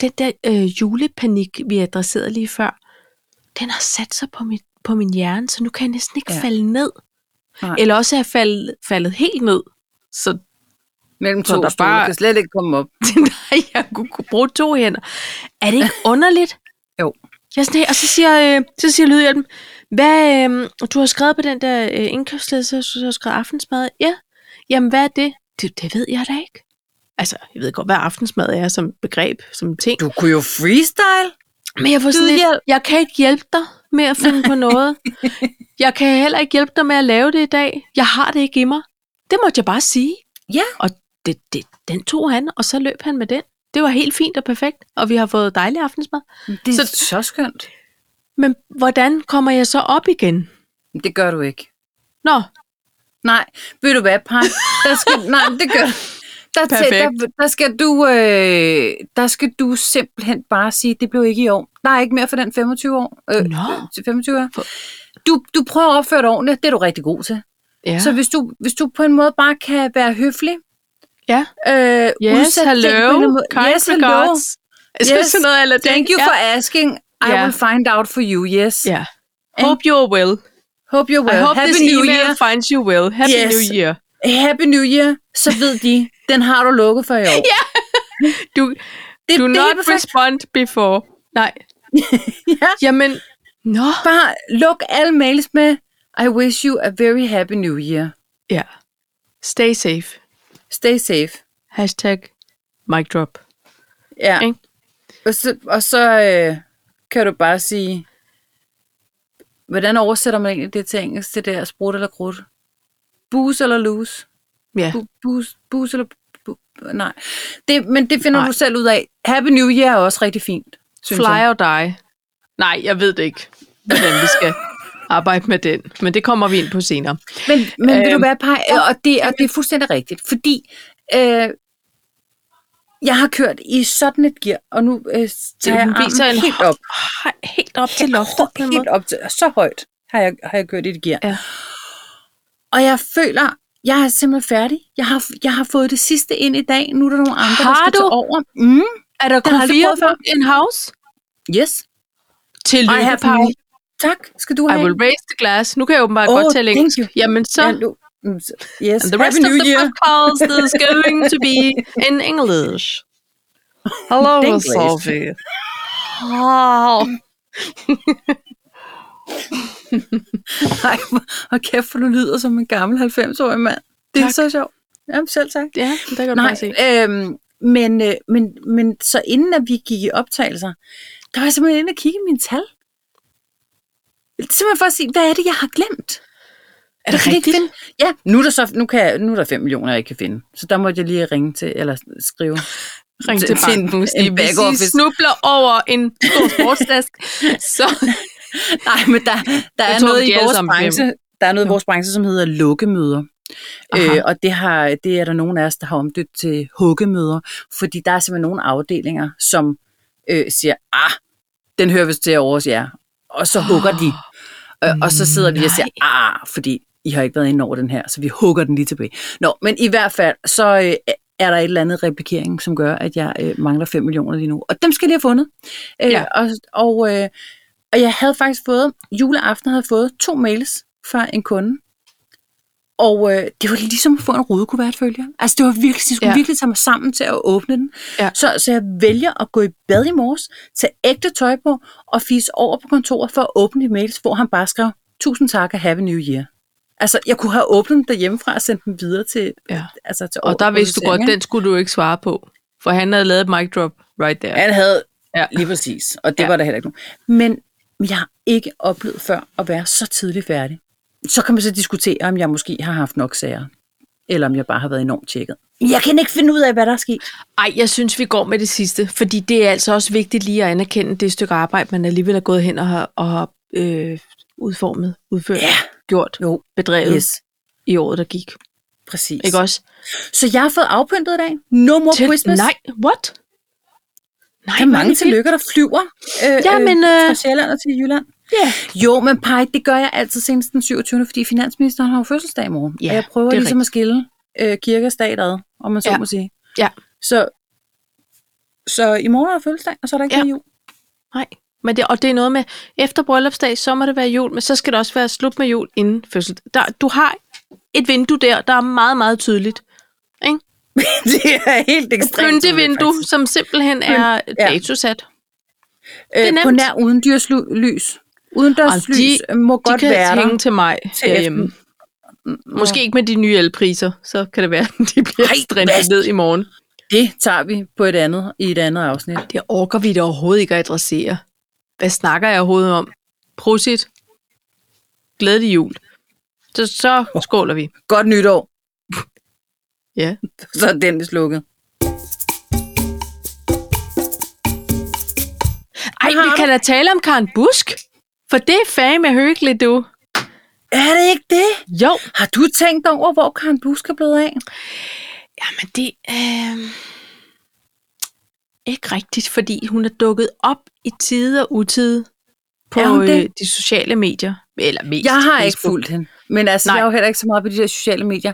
den der øh, julepanik, vi adresserede lige før, den har sat sig på, mit, på min hjerne, så nu kan jeg næsten ikke
Ja.
ja. falde ned.
Nej.
Nej. Eller også er jeg faldet, faldet helt ned, så
Mellem
Så
to
der
stole
bare-
kan slet ikke komme op.
[laughs] Nej, jeg kunne, kunne bruge to hænder. Er det ikke underligt?
Jo.
Jeg er sådan, helt- og så siger, øh, så siger Lydhjælpen, hvad, øh, du har skrevet på den der øh, indkøbsliste, så så har du skrevet aftensmad. Ja, jamen hvad er det? det? Det ved jeg da ikke. Altså, jeg ved godt, hvad aftensmad er som begreb, som ting.
Du kunne jo freestyle.
Men jeg får sådan lidt,
Lydhjælp.
jeg kan ikke hjælpe dig med at finde
[laughs]
på noget. Jeg kan heller ikke hjælpe dig med at lave det i dag. Jeg har det ikke i mig. Det måtte jeg bare sige.
Ja.
Og det, det, den tog han, og så løb han med den. Det var helt fint og perfekt, og vi har fået dejlig aftensmad.
Det er så,
Så-
så skønt.
Men hvordan kommer jeg så op igen?
Men Det gør du ikke.
Nå,
Nej, ved du hvad, Paj? Der [laughs] skal, nej, men det gør du. Der, til,
Perfekt.
der, der, skal du, øh, der skal du simpelthen bare sige, det blev ikke i år. Der er ikke mere for den 25 år. Øh,
Nå.
til 25 år.
For-
Du, du prøver at opføre dig ordentligt, det er du rigtig god til.
ja.
Ja. Så
Så,
hvis du, hvis du på en måde bare kan være høflig,
ja.
øh,
Yes,
udsætte ting på en eller anden
hello,
måde.
kind
yes, hello,
regards. Så
Yes,
sådan noget, eller
thank you
ja.
for asking, I
Ja.
will find out for you, yes.
Ja. Hope you're well.
Hope you're well.
I hope
Happy
this
New
email
Year.
finds you well. Happy
Yes.
New Year.
Happy New Year, så ved
[laughs]
de, den har du lukket for i år. Ja,
Du,
det,
Do
det er
not
perfekt.
respond before. [laughs] Nej.
Ja.
Jamen, nå.
Bare luk alle mails med, I wish you a very happy new year.
Ja. Stay safe.
Stay safe.
Hashtag mic drop.
Ja.
Ikke?
Og så, og så øh, kan du bare sige, hvordan oversætter man egentlig det til engelsk, det der sprut eller krudt? Booze eller lose?
Ja.
Bu- Booze, booze eller... Bu- nej. Det, men det finder
Nej.
du selv ud af. Happy New Year er også rigtig fint. Synes
Fly
Jeg.
or die. Nej, jeg ved det ikke, hvordan vi [laughs] skal arbejde med den. Men det kommer vi ind på senere.
Men, men øhm, vil du
Øhm,
være pej? Og det, og det er fuldstændig rigtigt, fordi øh, jeg har kørt i sådan et gear, og nu øh, tager jeg
Hun viser
armen
en
helt op.
Hej, Helt op til loftet på en
Helt
måde.
op til, så højt har jeg, har jeg kørt i det gear.
Ja.
Og jeg føler, jeg er simpelthen færdig. Jeg har, jeg har fået det sidste ind i dag. Nu er der nogle andre, der
Har
skal
du?
tage over. Mm,
Er der
har jeg aldrig
kofir
prøvet før.
in house?
yes. I
Tillykke,
have
Paj.
more. Tak skal du
I
have.
will raise the glass. Nu kan jeg åbenbart
Oh,
godt tale
thank
engelsk.
you.
Jamen så,
Ja, nu- mm, så- Yes.
and the rest
Happy
of
New
the
Year.
podcast is
[laughs]
going to be in English. Hello,
English.
Sophie. Wow.
Nej, og kæft, for du lyder som en gammel 90-årig mand. Det er
Tak.
så sjovt. Jamen, selv tak.
Ja, det kan du
Nej,
bare se.
øhm, men, øh, men, men så inden at vi gik i optagelser, der var jeg simpelthen inde og kigge i mine tal. Simpelthen for at sige, hvad er det, jeg har glemt?
Er
Jeg kan ikke finde. Ja, nu er der, så, nu kan jeg, nu er der 5 millioner, jeg ikke kan finde. Så der måtte jeg lige ringe til, eller skrive.
Ring til,
til en-
banken, hvis
en
de, hvis
backoffice.
de snubler over en stor [laughs] sportstask, så
Nej, men der, der er
tror,
noget
de
i
alle
vores
sammen
branche, der er noget i vores branche, som hedder lukkemøder.
Aha.
Øh, og det, har, det er der nogen af os, der har omdøbt til hukkemøder, fordi der er simpelthen nogle afdelinger, som øh, siger, ah, den hører vist til over hos jer, og så hugger de. Øh, og så sidder vi og siger, ah, fordi I har ikke været inde over den her, så vi hugger den lige tilbage. Nå, men i hvert fald, så øh, er der et eller andet replikering, som gør, at jeg øh, mangler 5 millioner lige nu. Og dem skal jeg lige have fundet. Øh,
Ja.
Og, og, øh, og jeg havde faktisk fået, juleaften havde jeg fået to mails fra en kunde. Og øh, det var ligesom at få en rudekuvert, følger jeg. Altså, det var virkelig, de skulle ja.
Ja.
virkelig tage mig sammen til at åbne den.
Ja.
Så, så jeg vælger at gå i bad i morges, tage ægte tøj på og fise over på kontoret for at åbne de mails, hvor han bare skrev, tusind tak og happy new year. Altså, jeg kunne have åbnet den derhjemmefra og sendt den videre til,
Ja.
altså til
Og der vidste du godt, den skulle du ikke svare på, for han havde lavet et mic drop right there.
Han havde
Ja.
ja. lige præcis, og det
Ja.
ja. var der heller ikke nogen. Men jeg har ikke oplevet før at være så tidligt færdig. Så kan man så diskutere, om jeg måske har haft nok sager, eller om jeg bare har været enormt tjekket. Jeg kan ikke finde ud af, hvad der er sket.
Ej, jeg synes, vi går med det sidste, fordi det er altså også vigtigt lige at anerkende det stykke arbejde, man alligevel er gået hen og har, og har øh, udformet, udført,
Ja.
gjort,
Jo,
bedrevet yes.
yes,
i året, der gik.
præcis.
Ikke også?
Så jeg har fået afpyntet i dag. No more Til, Christmas.
Nej, what? Nej,
Der er mange tillykker, der flyver øh,
Ja, men,
øh,
øh,
fra Sjælland og til Jylland.
Ja.
Jo, men pej, det gør jeg altid senest den 27. Fordi finansministeren har jo fødselsdag i morgen.
Ja,
og jeg prøver
det er
ligesom at skille øh, kirke og stat ad, om man så
Ja.
ja. må sige.
Ja.
Så, så i morgen er der fødselsdag, og så er der ikke
Ja.
ja. mere jul. [laughs]
Nej. Men det, og det er noget med, efter bryllupsdag, så må det være jul, men så skal det også være slut med jul inden fødsel. Der, du har et vindue der, der er meget, meget tydeligt.
det er
Et
helt ekstremt.
pyntevindue, som simpelthen er
ja.
datosat.
Øh,
er
på
nemt.
nær uden dyrslys. Uden
de-
dørslys øh, må
Godt
godt
de kan
være
hænge
der.
til mig
til
herhjemme. Måske ikke med de nye elpriser, så kan det være, [laughs] at de bliver
Ej,
strendt
hvad?
ned i morgen.
Det tager vi på et andet, i et andet afsnit.
Det orker vi da overhovedet ikke at adressere. Hvad snakker jeg overhovedet om? Prosit. Glædelig jul. Så, så skåler vi.
Godt nytår.
Ja.
Så er den vist lukket.
Ej,
Hvad har
vi
du?
kan da tale om Karen Busk. For det er fame hyggeligt, du.
Er det ikke det?
Jo.
Har du tænkt over, hvor Karen Busk er blevet af?
Jamen, det er øh, ikke rigtigt, fordi hun er dukket op i tide og utide på
Er hun
øh,
det?
de sociale medier. Eller mest
Jeg har ikke
Facebook.
fulgt hende, men altså,
Nej.
Nej. jeg er jo heller ikke så meget på de der sociale medier.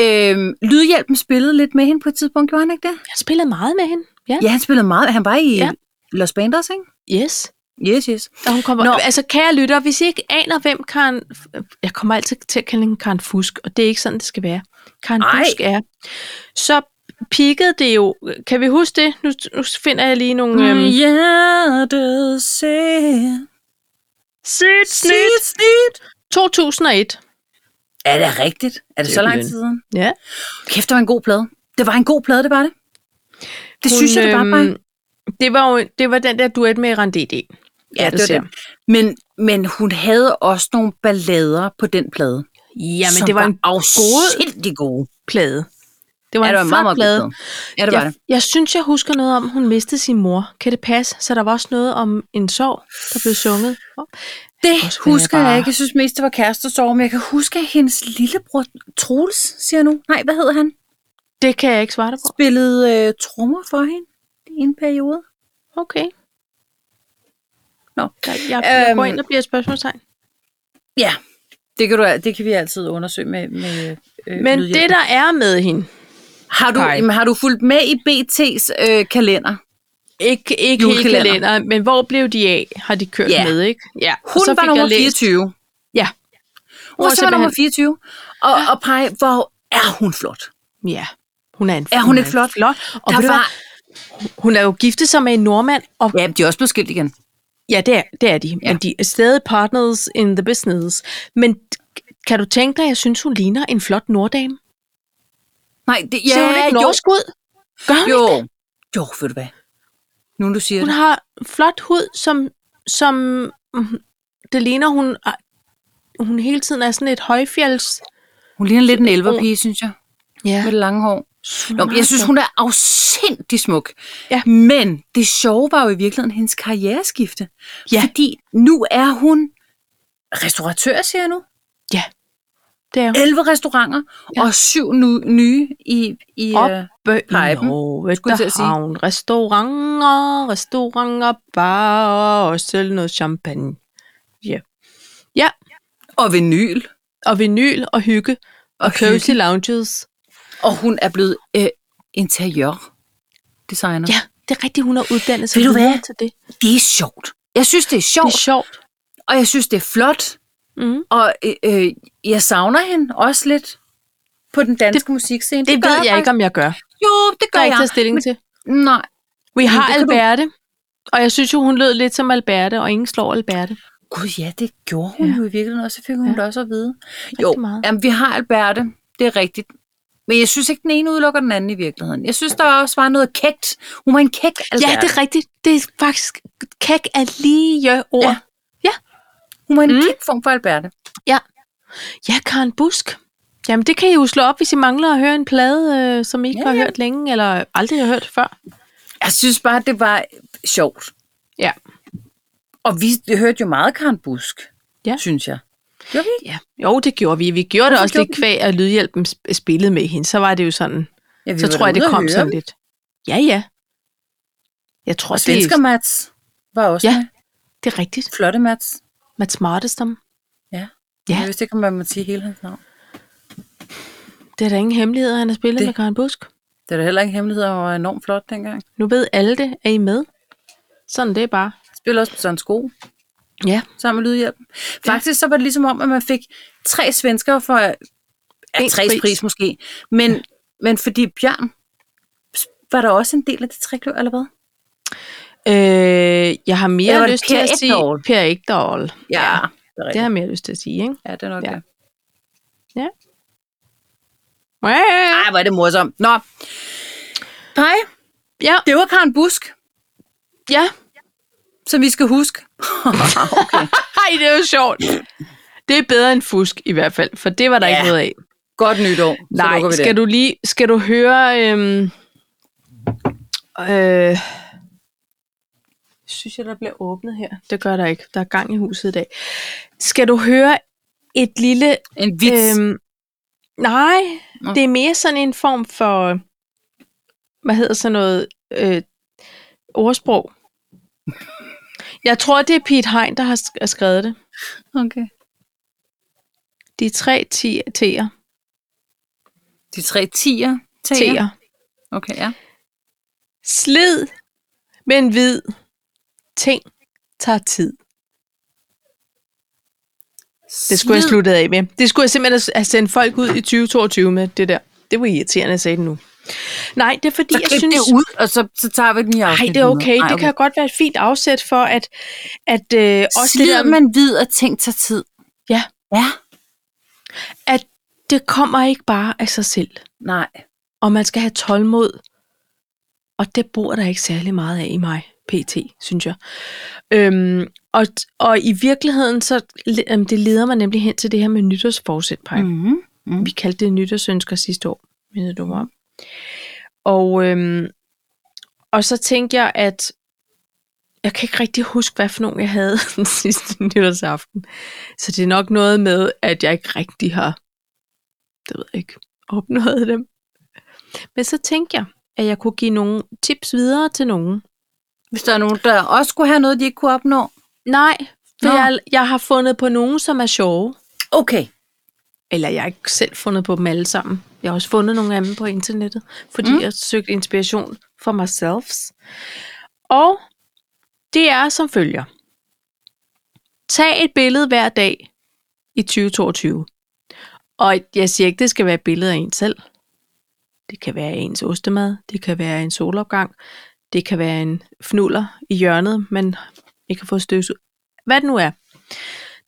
Øhm, Lydhjælpen spillede lidt med hende på et tidspunkt, gjorde han ikke det?
Jeg har spillet meget med hende. Ja.
Ja, han spillede meget. Han var i
Ja.
ja. Los Bandos, ikke?
Yes.
Yes, yes.
Og hun kommer, Nå.
Nå.
Altså, kære lytter, hvis I ikke aner, hvem Karen... Jeg kommer altid til at kalde hende Karen Fusk, og det er ikke sådan, det skal være. Karen Ej.
Ej.
Fusk er... Så pikkede det jo... Kan vi huske det? Nu, nu finder jeg lige nogle... Mm.
Øhm.
Øhm,
Hjertet ser
snit,
snit, snit.
2001.
Er det rigtigt? Er det,
Det
det
er
så lang
den.
tid siden?
Ja.
Kæft, det var en god plade. Det var en god plade, det var det. Det synes jeg, det var bare.
øhm, det var, jo, det var den der duet med Randy D.
Ja, det var
ser.
det. Men, men hun havde også nogle ballader på den plade.
Jamen, det var en god
afsindig gode.
plade. Det var
Ja, det var
en
en meget,
flot
meget
plade.
god plade. Ja, det var
jeg,
det.
jeg synes, jeg husker noget om, at hun mistede sin mor. Kan det passe? Så der var også noget om en sorg, der blev sunget. Åh,
Det
Også hvad
husker
jeg
jeg,
bare-
ikke. Jeg synes mest, det var kærestesorg, men jeg kan huske, at hendes lillebror, Troels, siger jeg nu. Nej, hvad hedder han?
Det kan jeg ikke svare dig på.
Spillede øh, trommer for hende i en periode.
Okay.
Nå.
Jeg, jeg, jeg går
Øhm.
ind og bliver et spørgsmålstegn.
Ja, det kan, du, al- det kan vi altid undersøge med, med øh,
Men
lydhjælp.
det, der er med hende,
har, du,
Nej.
jamen, har du fulgt med i BT's øh, kalender?
ikke, ikke hele
Julekalender.
kalenderen, men hvor blev de af, har de kørt
Ja.
med, ikke? Ja. og
Hun
så
var
fik
nummer
jeg læst-
24.
Ja. Hun var
Hun var simpelthen nummer
simpelthen-
24. Og, og pege, hvor er hun flot.
Ja. Hun er, en,
Er hun ikke
en
flot?
flot. Og
Der
ved du
var,
hvad, hun er jo giftet sig med en nordmand, og
ja, de er også blevet skilt igen.
ja, det er, det er de, ja.
Ja.
men de er stadig partners in the business. Men k- kan du tænke dig, jeg synes, hun ligner en flot norddame?
Nej, det,
Ser hun ikke norsk ud? Gør hun
jo,
ikke?
jo, jo, ved du hvad? Nu du siger
Hun
det.
har flot hud, som, som mm, det ligner, hun, ah, hun hele tiden er sådan et højfjelds...
Hun ligner lidt en elverpige, synes jeg.
Ja.
Med det lange hår. Nå, men jeg synes, hun er afsindig smuk.
Ja.
Men det sjove var jo i virkeligheden hendes karriereskifte.
Ja.
Fordi nu er hun restauratør, siger jeg nu.
Ja, det er hun.
11 restauranter
Ja.
ja. og syv nu, nye i... i
Op.
øh,
Bø-
Hej,
i
dem,
Norge,
skulle jeg til
der
at sige.
har hun restauranter, restauranter, barer og selv noget champagne. Ja. Ja,
og vinyl.
og vinyl og hygge og, og
Og
cozy
hygge.
lounges.
Og hun er blevet øh, interiørdesigner.
Ja, det er rigtigt, hun har uddannet sig
Ved du hvad?
videre til det.
Det er sjovt. Jeg synes, det er
Det
sjovt,
er sjovt.
og jeg synes, det er flot.
Mm.
Og øh, øh, jeg savner hende også lidt på den danske det, musikscene.
Det
gør
ved jeg
faktisk.
ikke, om jeg gør.
Jo, det
Der
gør
er
jeg.
ikke taget stilling til.
Men, nej.
Vi har
det kan du-
Alberte, og jeg synes jo, hun lød lidt som Alberte, og ingen slår Alberte.
Gud ja, det gjorde hun
Ja.
ja. jo i virkeligheden også. Så fik hun
Ja.
ja. det også at vide. Jo,
meget.
jamen, vi har Alberte. Det er rigtigt. Men jeg synes ikke, den ene udelukker den anden i virkeligheden. Jeg synes, der også var noget kægt. Hun var en kæk
Ja, det er rigtigt. Det er faktisk kæk er lige ord.
Ja.
Ja.
Hun var en
Mm.
mm. kæk form for Alberte.
ja, Karen Busk. Jamen, det kan I jo slå op, hvis I mangler at høre en plade, øh, som I ikke
Ja,
ja, har
ja.
hørt længe, eller aldrig har hørt før.
Jeg synes bare, det var sjovt.
Ja.
Og vi hørte jo meget Karen Busk,
Ja.
synes jeg. Gjorde vi ikke?
Ja. Jo, det gjorde vi. Vi gjorde det
Hvorfor
også
gjorde
lidt kvæg, at Lydhjælpen sp- spillede med hende. Så var det jo sådan.
Ja, vi
så
var
tror jeg, det
derude at
kom
høre
sådan
dem.
lidt. Ja, ja. Jeg tror,
Og
det,
svensker Mats var også
Ja.
ja. med.
det er rigtigt.
Flotte Mats.
Mads Martestam.
Ja.
Ja.
Jeg vidste ikke, om man må sige hele hans navn.
Det er da ingen hemmelighed, at han har spillet
Det-
det. med Karen Busk.
Det er da heller ikke hemmelighed, og var enormt flot dengang.
Nu ved alle det. Er I med? Sådan det er bare.
Spiller også på Søren Sko.
Ja.
sammen med lydhjælpen. Faktisk så var det ligesom om, at man fik tre svensker for ja,
En
tre pris.
pris.
pris måske. Men, ja. men fordi Bjørn var der også en del af det trekløver, eller hvad?
Øh, jeg har mere
Eller var det
lyst til
Per
at sige...
Ekdahl?
Per Ekdahl.
det er,
Det har
rigtigt.
jeg mere lyst til at sige, ikke?
ja, det er nok
Ja.
det.
Ja.
Ej, hvor er det morsomt. Nå. Hej,
Ja.
det var Karen Busk,
ja.
som vi skal
[laughs]
huske. [laughs] okay.
Ej, det er jo sjovt. Det er bedre end fusk i hvert fald, for det var der
Ja.
ja. ikke noget af.
Godt nytår. Så lukker
Nej,
vi
skal
den.
du lige skal du høre øhm, øh, synes jeg der bliver åbnet her. Det gør der ikke. Der er gang i huset i dag. Skal du høre et lille
En vits. Øhm,
Øhm, nej,
Nå.
det er mere sådan en form for, hvad hedder sådan noget, øh, ordsprog. Jeg tror, det er Pete Hein, der har sk- skrevet det.
okay.
De tre ti- T'er.
De tre tier.
T'er.
Okay, ja.
Slid, men vid. Ting tager tid. Det skulle jeg
Slid.
slutte af med. Det skulle jeg simpelthen have sendt folk ud i 2022 med, det der. Det var irriterende, at jeg sagde det nu. Nej, det er fordi,
Så
jeg
klip
synes...
det ud, og så, så tager vi den i
Nej,
afsnit.
det er okay.
100. Ej,
Det kan godt være et fint afsæt for, at, at øh, også det, der,
man vid og ting tager tid.
Ja.
Ja.
at det kommer ikke bare af sig selv,
Nej.
og man skal have tålmod. Og det bor der ikke særlig meget af i mig, pt, synes jeg. Øhm, og, og i virkeligheden, så øhm, det leder mig nemlig hen til det her med nytårsforsæt, Paj.
Mm-hmm.
Vi kaldte det nytårsønsker sidste år, mindede du mig om. Og, øhm, og så tænkte jeg, at jeg kan ikke rigtig huske, hvad for nogen jeg havde [laughs] den sidste nytårsaften. Så det er nok noget med, at jeg ikke rigtig har det ved jeg ikke, opnået dem. Men så tænkte jeg, at jeg kunne give nogle tips videre til nogen.
Hvis der er nogen, der også skulle have noget, de ikke kunne opnå.
Nej, for
Nå.
jeg, jeg har fundet på nogen, som er sjove.
Okay.
Eller jeg har ikke selv fundet på dem alle sammen. Jeg har også fundet nogle af dem på internettet, fordi
Mm.
mm. jeg søgte inspiration for mig selv. Og det er som følger. Tag et billede hver dag i 2022. Og jeg siger ikke, det skal være et billede af en selv. Det kan være ens ostemad, det kan være en solopgang, det kan være en fnuller i hjørnet, man ikke har fået støvsud. Hvad det nu er.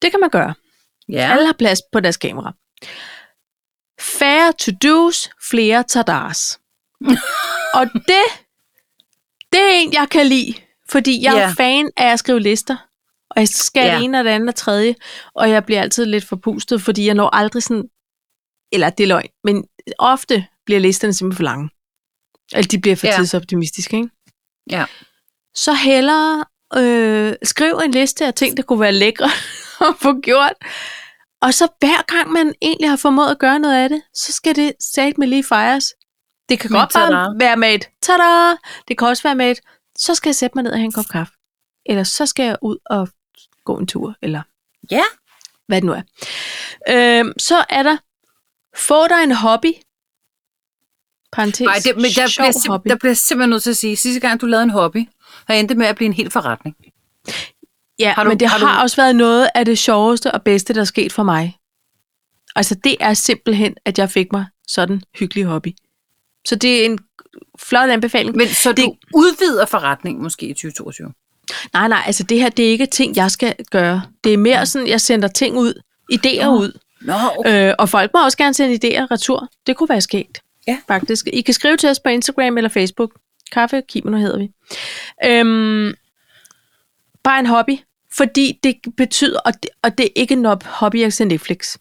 Det kan man gøre.
Ja.
Alle har plads på deres kamera. Færre to-dos, flere
[laughs]
tadars. og det, det er en, jeg kan lide, fordi jeg
Ja.
er fan af at skrive lister. Og jeg skal
Ja.
det ene og det andet og tredje, og jeg bliver altid lidt forpustet, fordi jeg når aldrig sådan, eller det er løgn, men ofte bliver listerne simpelthen for lange. Eller de bliver for
Ja.
ja. tidsoptimistiske, ikke?
Ja.
Så hellere øh, skriv en liste af ting, der kunne være lækre at få gjort, og så hver gang man egentlig har formået at gøre noget af det, så skal det sat med lige fejres. Det kan
Men
godt bare
tada.
være med et tada, det kan også være med et, så skal jeg sætte mig ned og have en kop kaffe. Eller så skal jeg ud og gå en tur, eller
Ja.
hvad det nu er. Øhm, så er der, få dig en hobby. Parenthes,
Ej, det, men der,
sjov
bliver sim-
hobby.
der bliver jeg simpelthen nødt til at sige, sidste gang du lavede en hobby, har endte med at blive en hel forretning.
Ja,
Har
har
du-
du, men det
har
har,
du-
også været noget af det sjoveste og bedste, der er sket for mig. Altså, det er simpelthen, at jeg fik mig sådan en hyggelig hobby. Så det er en flot anbefaling.
Men så det...
Det-
du udvider forretningen måske i 2022.
Nej, nej, altså det her, det er ikke ting, jeg skal gøre. Det er mere sådan, jeg sender ting ud, idéer
Nå,
ud.
Nå,
Øh, og folk må også gerne sende idéer retur. Det kunne være skægt.
Ja.
faktisk. I kan skrive til os på Instagram eller Facebook. Kaffe og Kimono hedder vi. Øhm, bare en hobby, fordi det betyder, og det, og det er ikke en op- hobby, jeg ser Netflix.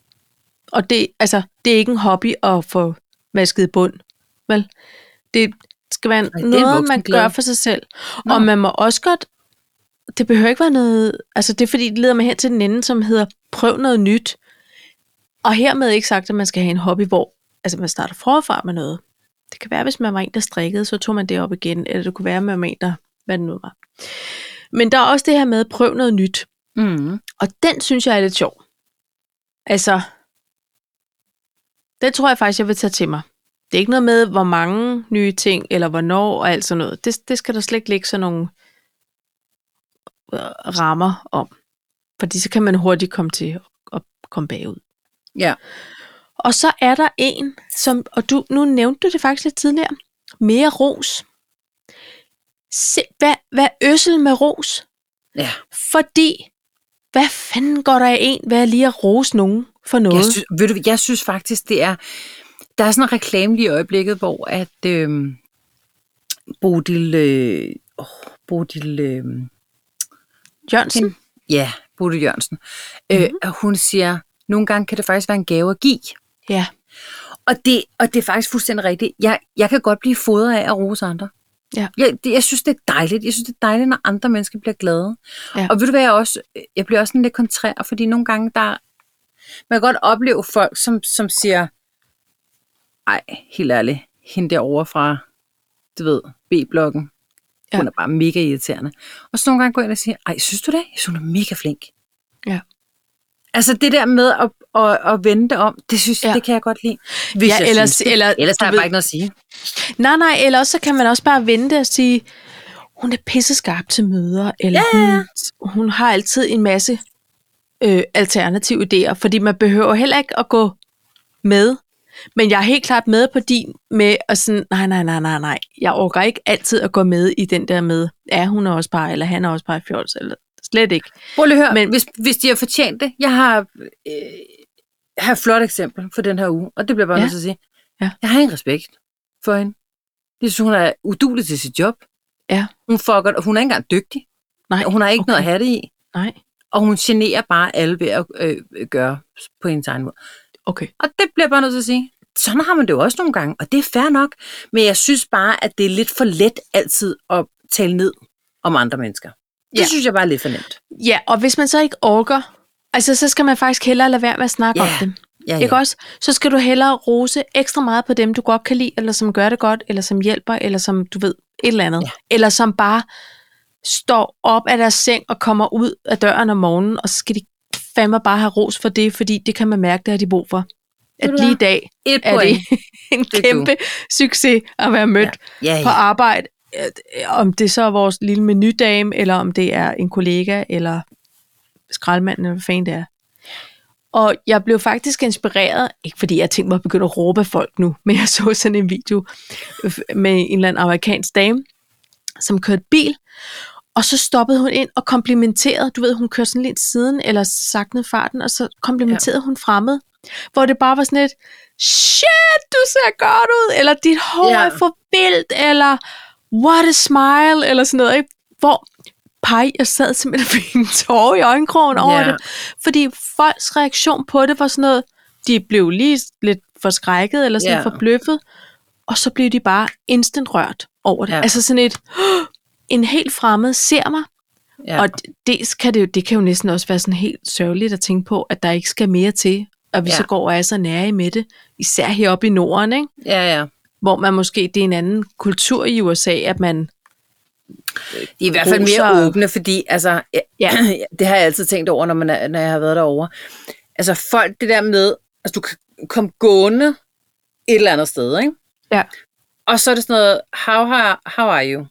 Og det, altså, det er ikke en hobby at få vasket bund, vel? Det skal være
er en
noget, man
voksenglæde.
gør for sig selv.
Nå.
Nå. Og man må også godt, det behøver ikke være noget, altså det er fordi, det leder mig hen til den ende, som hedder, prøv noget nyt. Og hermed ikke sagt, at man skal have en hobby, hvor altså man starter forfra med noget. Det kan være, hvis man var en, der strikkede, så tog man det op igen, eller det kunne være, at man var en, der, hvad det nu var. Men der er også det her med, at prøv noget nyt.
Mm.
Og den synes jeg er lidt sjov. Altså, det tror jeg faktisk, jeg vil tage til mig. Det er ikke noget med, hvor mange nye ting, eller hvornår, og alt sådan noget. Det, det skal der slet ikke ligge sådan nogle øh, rammer om. Fordi så kan man hurtigt komme til at komme bagud.
Ja.
Og så er der en, som, og du, nu nævnte du det faktisk lidt tidligere, mere ros. Se, hvad, hvad øssel med ros?
ja.
Fordi, hvad fanden går der af en ved at lige at rose nogen for
Jeg
noget?
synes, ved du, jeg synes faktisk, det er... Der er sådan en reklame lige i øjeblikket, hvor at øh, Bodil... Øh, oh, Bodil... Øh,
Jørgensen?
Hmm. ja, Bodil Jørgensen. Øh, mm-hmm. Hun siger, nogle gange kan det faktisk være en gave at give.
Ja.
Og det, og det er faktisk fuldstændig rigtigt. Jeg, jeg kan godt blive fodret af at rose andre.
Ja.
Jeg, det, jeg synes, det er dejligt. Jeg synes, det er dejligt, når andre mennesker bliver glade.
Ja.
Og ved du hvad, jeg, også, jeg bliver også sådan lidt kontrær, fordi nogle gange, der, man kan godt opleve folk, som, som siger, ej, helt ærligt, hende derovre fra, du ved, B-blokken, ja. hun
Ja.
er bare mega irriterende. Og så nogle gange går jeg ind og siger, ej, synes du det? Jeg synes, hun er mega flink.
Ja.
Altså det der med at, at, at vende det om, det synes jeg,
Ja.
det kan jeg godt lide. Hvis
Ja,
jeg
ellers-
synes det.
eller-
ellers
du
har jeg
ved-
bare ikke noget at sige.
Nej, nej, eller også så kan man også bare vente og sige, hun er pisseskarp til møder, eller ja. hun, hun har altid en masse øh, alternative idéer, fordi man behøver heller ikke at gå med. Men jeg er helt klart med på din med at sådan, nej, nej, nej, nej, nej. Jeg overgår ikke altid at gå med i den der med, ja, hun er også bare, eller han er også bare fjols, eller slet ikke.
Prøv lige at høre, Men,
Men-
hvis, hvis de har fortjent det. Jeg har, øh, jeg har et flot eksempel for den her uge, og det bliver jeg bare ja.
Ja.
nødt til at sige.
Ja.
Jeg har ingen respekt for hende. Jeg synes, hun er udulig til sit job.
Ja.
Hun, fucker, og hun er ikke engang dygtig.
Nej,
Hun har ikke okay. noget at have det i.
nej,
Og hun generer bare alle ved at øh, gøre på hendes egen måde.
okay.
Og det bliver jeg bare nødt til at sige. Sådan har man det jo også nogle gange, og det er fair nok. Men jeg synes bare, at det er lidt for let altid at tale ned om andre mennesker. Det ja.
Ja.
synes jeg bare er lidt for nemt.
Ja, og hvis man så ikke orker, altså så skal man faktisk hellere lade være med at snakke
Ja,
om dem.
Ja,
Ikke også? Så skal du hellere rose ekstra meget på dem, du godt kan lide, eller som gør det godt, eller som hjælper, eller som du ved, et eller andet.
Ja.
Ja. Eller som bare står op af deres seng og kommer ud af døren om morgenen, og så skal de fandme bare have ros for det, fordi det kan man mærke, det har de brug for. At
du
lige
hvad?
i dag
Et
er det
point.
[laughs] en
er du.
kæmpe succes at være mødt
Ja,
på
ja.
arbejde, øh, om det så er vores lille menudame, eller om det er en kollega, eller skraldmanden, eller hvad fanden det er. Og jeg blev faktisk inspireret, ikke fordi jeg tænkte mig at begynde at råbe af folk nu, [laughs] men jeg så sådan en video øh, f- med en eller anden amerikansk dame, som kørte bil, og så stoppede hun ind og komplimenterede, du ved, hun kørte sådan lidt siden, eller saknede farten, og så komplimenterede ja. hun fremmed, hvor det bare var sådan et, shit, du ser godt ud, eller dit hår
Ja.
ja. er for vildt, eller what a smile, eller sådan noget, ikke? hvor pej, jeg sad simpelthen og fik [laughs] en tårer i øjenkrogen over
Ja.
det, fordi folks reaktion på det var sådan noget, de blev lige lidt forskrækket, eller sådan
Ja.
yeah. forbløffet, og så blev de bare instant rørt over det.
Ja.
Yeah. Altså sådan et, "Åh, en helt fremmed ser mig,
ja.
og d- dels kan det, jo, det kan jo næsten også være sådan helt sørgeligt at tænke på, at der ikke skal mere til, og vi
Ja.
ja. så går og er så nære med det, især heroppe i Norden, ikke?
ja, ja.
hvor man måske, det er en anden kultur i USA, at man,
De er i hvert fald mere
Roser.
åbne, fordi altså, ja.
Ja.
[clears throat] det har jeg altid tænkt over, når, man er, når jeg har været derovre. Altså folk, det der med, altså du kan komme gående et eller andet sted, ikke?
Ja.
Og så er det sådan noget, how, how, how are you?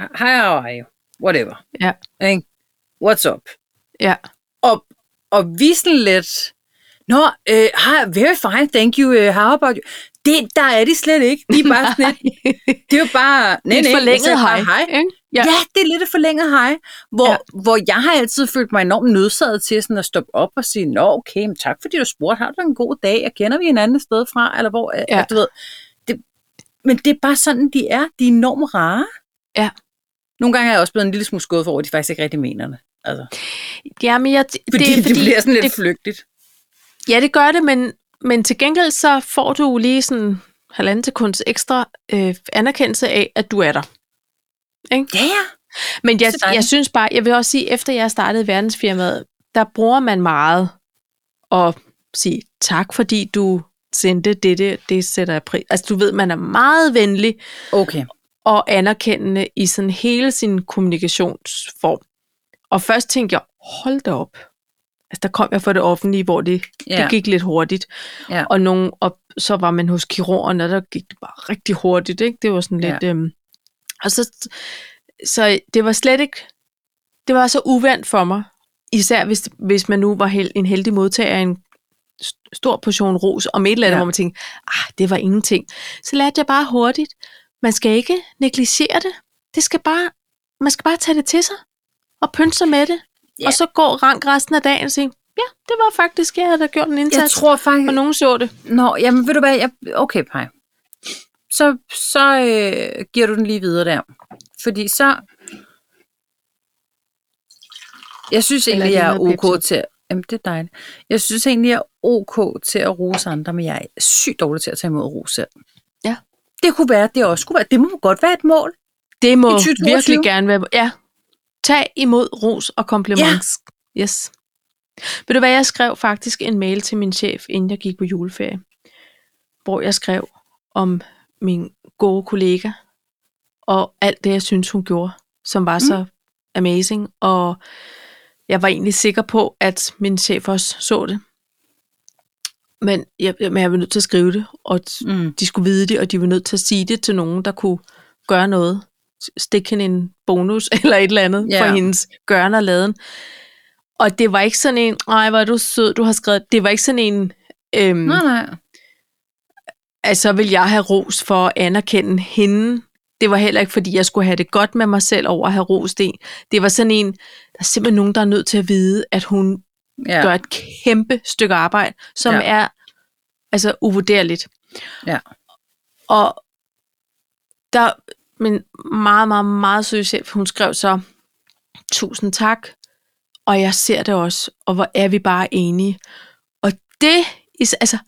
Hi, how are you? Whatever.
Ja.
Ikke? What's up? [laughs]
ja,
Og, og vi sådan lidt, Nå, øh, hi, very fine, thank you, uh, how about you? Det, der er de slet ikke. De er
[laughs]
bare sådan lidt, det er jo bare, nej,
et
nej,
forlænget
jeg sagde
hej.
bare hej.
ikke?
Ja.
Ja.
ja, det er lidt et forlænget hej, hvor,
Ja.
ja. hvor jeg har altid følt mig enormt nødsaget til sådan at stoppe op og sige, nå okay, men tak fordi du spurgte, har du en god dag, og kender vi hinanden et sted fra, eller hvor, ja.
Ja.
at, du ved, det, Men det er bare sådan, de er. De er enormt rare.
Ja.
Nogle gange er jeg også blevet en lille smule skuffet over, at de faktisk ikke rigtig mener det. Altså,
Jamen, jeg, det,
fordi det, fordi det bliver sådan lidt
det-
det, flygtigt.
Ja, det gør det, men, men til gengæld så får du lige sådan halvanden sekunds ekstra øh, anerkendelse af, at du er der.
Ja, ja.
Men jeg,
Så dejligt.
jeg synes bare, jeg vil også sige, efter jeg startede verdensfirmaet, der bruger man meget at sige tak, fordi du sendte dette, det sætter jeg pris. Altså du ved, man er meget venlig
Okay.
og anerkendende i sådan hele sin kommunikationsform. Og først tænkte jeg, hold da op. Altså der kom jeg fra det offentlige, hvor det
Ja.
Det gik lidt hurtigt.
Ja.
Og, nogen, og så var man hos kirurgen, og der gik det bare rigtig hurtigt. Ikke? Det var sådan
Ja.
lidt... Øhm, og så, så det var slet ikke... Det var så uvandt for mig. Især hvis, hvis man nu var hel, en heldig modtager af en s- stor portion ros om et eller andet, ja.
Ja.
hvor man tænkte, ah, det var ingenting. Så lærte jeg bare hurtigt. Man skal ikke negligere det. det skal bare, man skal bare tage det til sig og pynte sig med det.
Ja.
Og så går rank resten af dagen og siger, ja, det var faktisk, jeg havde da gjort en indsats.
Jeg tror faktisk...
Og nogen så det.
Nå, jamen ved du hvad, jeg, okay Paj. Så, så øh, giver du den lige videre der. Fordi så... Jeg synes
Eller
egentlig,
lige
jeg er
noget
ok
Pepsi.
til at... Jamen, det er dejligt. Jeg synes egentlig, jeg er ok til at rose andre, men jeg er sygt dårlig til at tage imod ros selv.
Ja.
Det kunne være, det også kunne være. Det må godt være et mål.
Det må
I 2022.
virkelig gerne være... Ja. Tag imod ros og kompliments. Ja. Yes. Ved du hvad, jeg skrev faktisk en mail til min chef, inden jeg gik på juleferie, hvor jeg skrev om min gode kollega, og alt det, jeg synes, hun gjorde, som var mm. så amazing, og jeg var egentlig sikker på, at min chef også så det. Men jeg, jeg- men jeg var nødt til at skrive det, og
Mm.
de skulle vide det, og de var nødt til at sige det til nogen, der kunne gøre noget. Stik hende en bonus [laughs] eller et eller andet yeah.
Ja.
for hendes gøren og laden. Og det var ikke sådan en, nej, hvor er du sød, du har skrevet. Det var ikke sådan en, øhm,
Nej, nej.
at så vil jeg have ros for at anerkende hende. Det var heller ikke, fordi jeg skulle have det godt med mig selv over at have rost en. Det var sådan en, der er simpelthen nogen, der er nødt til at vide, at hun
Ja.
gør et kæmpe stykke arbejde, som
Ja.
ja. er altså uvurderligt.
Ja.
Og der min meget, meget, meget søde chef, hun skrev så, tusind tak, og jeg ser det også, og hvor er vi bare enige. Og det, is- altså,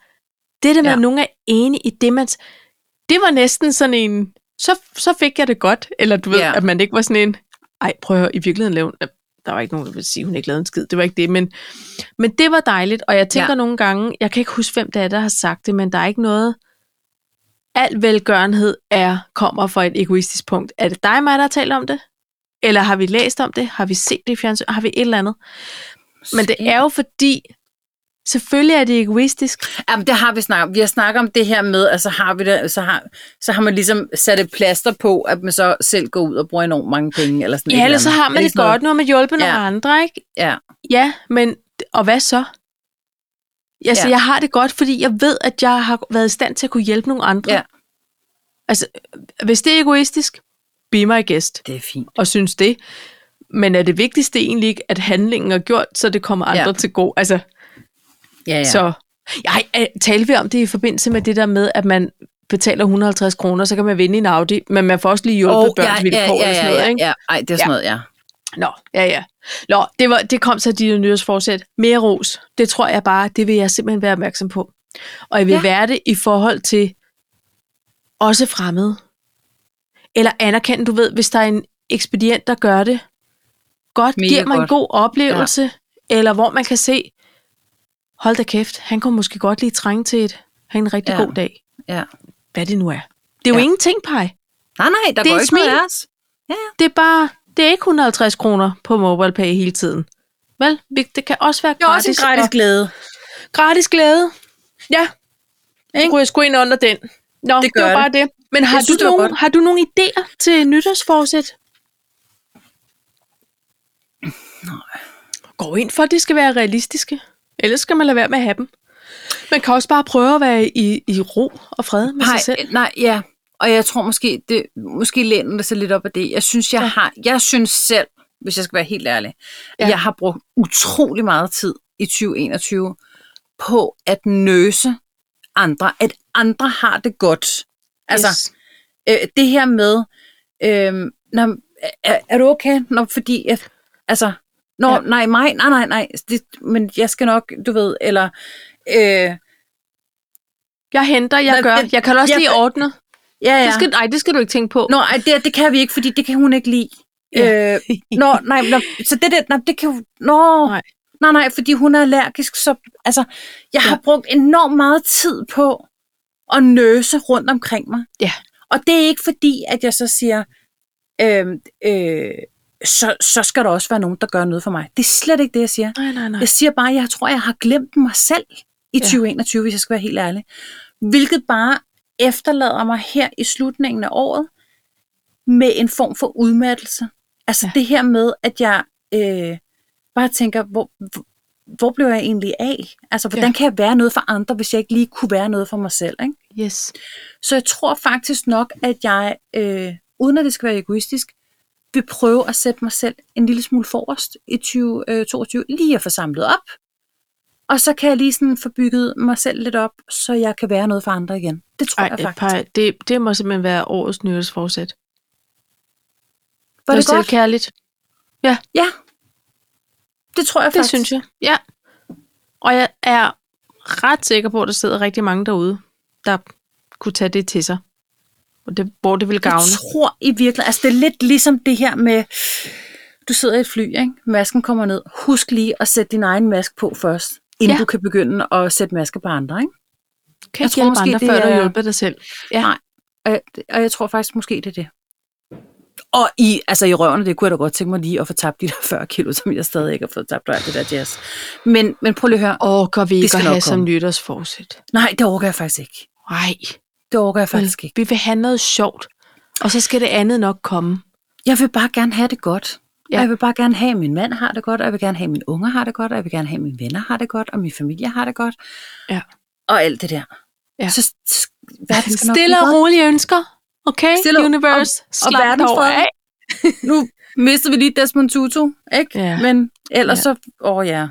det der med,
Ja.
ja. at nogen er enige i det, man, s- det var næsten sådan en, så, så fik jeg det godt, eller du ved,
Ja.
ja. at man ikke var sådan en, ej, prøv at høre, i virkeligheden lavede hun- der var ikke nogen, der ville sige, at hun ikke lavede en skid, det var ikke det, men, men det var dejligt, og jeg tænker
Ja.
ja. nogle gange, jeg kan ikke huske, hvem det er, der har sagt det, men der er ikke noget, al velgørenhed er, kommer fra et egoistisk punkt. Er det dig og mig, der har talt om det? Eller har vi læst om det? Har vi set det i fjernsyn? Har vi et eller andet? Men det er jo fordi, selvfølgelig er det egoistisk.
Jamen, det har vi snakket om. Vi har snakket om det her med, at så har, vi det, så har, så har man ligesom sat et plaster på, at man så selv går ud og bruger enormt mange penge. Eller sådan et
Ja, ellers så
eller andet.
har
Er
man det
ikke sådan
godt, når man hjælper
Ja.
nogle andre, ikke?
noget? Ja.
Ja, men, og hvad så? Altså,
Ja.
ja. jeg har det godt, fordi jeg ved, at jeg har været i stand til at kunne hjælpe nogle andre.
Ja.
Altså, hvis det er egoistisk, be my guest.
Det er fint.
og synes det. Men er det vigtigste egentlig ikke, at handlingen er gjort, så det kommer andre
Ja.
ja. til god? Altså,
Ja, ja.
ja. så... Jeg, jeg, talte vi om det i forbindelse med det der med, at man betaler 150 kroner, så kan man vinde en Audi, men man får også lige hjulpet oh, børns ja, vilkår ja, ja, eller sådan noget, ikke?
ja. Ej, det er sådan noget, ja.
Nå, ja, ja. Nå, det, var, det kom så dit nyårsforsæt. Mere ros, det tror jeg bare, det vil jeg simpelthen være opmærksom på. Og jeg vil
Ja.
ja. være det i forhold til også fremmede. Eller anerkende, du ved, hvis der er en ekspedient, der gør det godt,
Mega
Mega giver mig en
godt.
god oplevelse, ja. eller hvor man kan se, hold da kæft, han kunne måske godt lige trænge til et, have en rigtig
Ja.
ja. god dag.
ja.
Hvad det nu er. Det er jo
Ja.
ja. ingenting, Paj.
Nej, nej, der
Det er
går
et
ikke noget
smil.
af os.
Det er bare, det er ikke 150 kroner på MobilePay hele tiden. Vel, vi- det kan også være
Det er
gratis.
også en gratis
og,
glæde.
gratis glæde. Ja,
Ikke?
ikke? ryger jeg sgu ind under den. Nå, det,
gør
det var
det.
bare det. Men har,
synes,
du
det var
nogen,
godt.
har du nogle idéer til nytårsforsæt? Nej. Gå ind for, at de skal være realistiske. Ellers skal man lade være med at have dem. Man kan også bare prøve at være i, i ro og fred med
Nej, øh,
sig selv.
nej, ja. Og jeg tror måske, det, måske læner det sig lidt op af det. Jeg synes, jeg har, jeg synes selv, hvis jeg skal være helt ærlig, ja.
Ja.
jeg har brugt utrolig meget tid i 2021 på at nøse andre, at andre har det godt. Altså, yes. Øh, det her med, øh, når, er, er du okay? Nå, fordi, jeg, altså, nå,
Ja.
ja. nej, mig, nej, nej, nej, det, men jeg skal nok, du ved, eller, øh,
Jeg henter, jeg
Nå,
gør.
det-
Jeg kan også
jeg-
lige ordne.
ja, ja.
Det skal, nej, det skal du ikke tænke på.
Nå, ej, det, det kan vi ikke, fordi det kan hun ikke lide.
Ja.
Ja. Øh, nå, nej, nå, så det der, nej, det kan hun,
Nej.
nå, nej. nej, nej, fordi hun er allergisk, så, altså, jeg
Ja.
ja. har brugt enormt meget tid på at nøse rundt omkring mig.
Ja.
Og det er ikke fordi, at jeg så siger, øh, øh, så, så skal der også være nogen, der gør noget for mig. Det er slet ikke det, jeg siger.
Nej, nej, nej.
Jeg siger bare, at jeg tror, jeg har glemt mig selv i 2021, hvis jeg skal være helt ærlig. Hvilket bare efterlader mig her i slutningen af året med en form for udmattelse. Altså
Ja.
ja. det her med, at jeg øh, bare tænker, hvor, hvor- hvor blev jeg egentlig af? Altså, hvordan
Ja.
ja. kan jeg være noget for andre, hvis jeg ikke lige kunne være noget for mig selv? Ikke?
Yes.
Så jeg tror faktisk nok, at jeg, øh, uden at det skal være egoistisk, vil prøve at sætte mig selv en lille smule forrest i 2022, lige at få samlet op. Og så kan jeg lige sådan få bygget mig selv lidt op, så jeg kan være noget for andre igen. Det tror Ej,
Ej,
jeg faktisk.
pej, det, det må simpelthen være årets nyhedsforsæt.
Var det godt?
kærligt.
Ja. Det tror jeg
Det
faktisk.
synes jeg. Ja. Og jeg er ret sikker på, at der sidder rigtig mange derude, der kunne tage det til sig. Og det, hvor det vil
Jeg
gavne.
tror i virkeligheden, altså det er lidt ligesom det her med, du sidder i et fly, ikke? masken kommer ned. Husk lige at sætte din egen maske på først, inden
Ja.
ja. du kan begynde at sætte masker på andre. Ikke?
Kan
jeg
ikke
tror
hjælpe
måske,
andre,
det
før du
er-
hjælper dig selv. Ja.
Nej. Og jeg, og jeg tror faktisk måske, det er det. Og i, altså i røven, det kunne jeg da godt tænke mig lige at få tabt de der 40 kilo, som jeg stadig ikke har fået tabt, og alt det der jazz. Men, men prøv lige at høre.
Orker vi ikke
skal
at
nok
have som
komme.
nytårsforsæt?
Nej, det orker jeg faktisk ikke.
Nej,
Det orker jeg faktisk ikke.
vi vil have noget sjovt. Og så skal det andet nok komme.
Jeg vil bare gerne have det godt.
Ja.
Ja. Og jeg vil bare gerne have, at min mand har det godt, og jeg vil gerne have, at mine unger har det godt, og jeg vil gerne have, at mine venner har det godt, og min familie har det godt.
Ja.
Og alt det der.
Ja.
Så s- verden skal nok
Stille
blive
og
godt.
rolige ønsker. Okay,
Stille og-
universe.
og
slap
verden
dog
fred.
af.
nu mister vi lige Desmond Tutu, ikke?
Ja.
Men ellers
Ja.
ja. så, åh ja.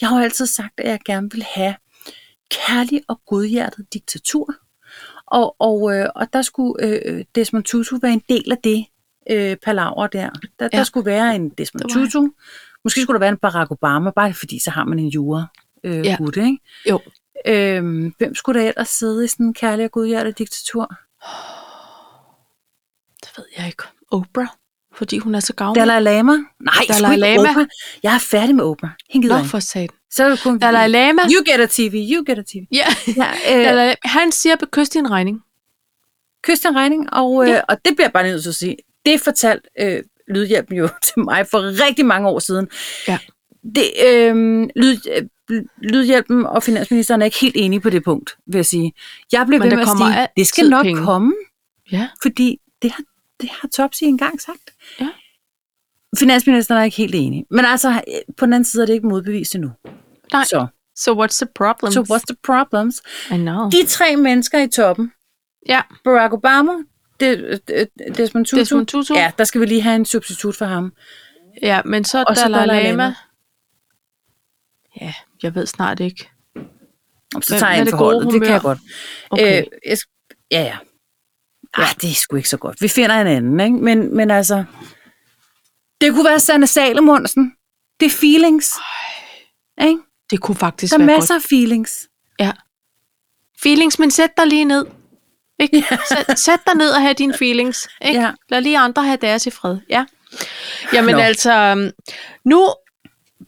Jeg har jo altid sagt, at jeg gerne vil have kærlig og godhjertet diktatur. Og, og, øh, og der skulle øh, øh, Desmond Tutu være en del af det øh, palaver der. Der, ja.
Ja.
der skulle være en Desmond
Det var han.
Tutu. Måske skulle der være en Barack Obama, bare fordi så har man en jura. Øh,
Ja.
ja. gutte, ikke?
Jo.
Øhm, hvem skulle der ellers sidde i sådan en kærlig og godhjertet diktatur?
Det ved jeg ikke. Oprah, fordi hun er så gavnlig.
Dalai Lama? Nej,
Dalai
sgu ikke
Lama.
Oprah. Jeg er færdig med Oprah. Hende gider
Nå,
jeg ikke.
for satan.
Så er det kun...
Dalai Lama.
You get a TV, you get a TV.
Ja.
Ja, øh,
Dalai, han siger, bekys din regning.
kys din regning, og, øh,
Ja.
ja. og det bliver jeg bare nødt til at sige. Det fortalte øh, Lydhjælpen jo [laughs] til mig for rigtig mange år siden.
Ja.
Det, øh, lyd, øh, Lydhjælpen og finansministeren er ikke helt enige på det punkt, vil jeg sige. Jeg blev
Men
ved
der
med at
kommer
sige,
altid
det skal nok
penge."
penge. komme,
Ja.
fordi det har, det har Topsy engang sagt.
Ja.
Finansministeren er ikke helt enig. Men altså, øh, på den anden side er det ikke modbevist endnu.
Nej.
Så,
So what's the problem?
so what's the problems?
I know.
De tre mennesker i toppen,
Ja,
Barack Obama, De- De- Desmond Tutu.
Desmond Tutu.
Ja, der skal vi lige have en substitut for ham.
ja, men så
Og så
Dalai
Dalai
Lama.
Lama.
Ja, jeg ved snart ikke.
Så
Hvem
tager
er
jeg en
det gode
forholdet, det kan jeg
humør?
godt.
Okay.
Øh, jeg, sk- ja, ja. Ah, det er sgu ikke så godt. Vi finder en anden, ikke? Men, men altså... Det kunne være Sanne Salomonsen. Det er feelings. Ikke?
Det kunne faktisk
Der er
være
masser af feelings.
godt. Ja. Feelings, men sæt dig lige ned. Ikke? Sæt, sæt dig ned og have dine feelings. Ikke?
Ja.
Lad lige andre have deres i fred. Ja. Jamen
Nå.
no. altså, øhm, nu,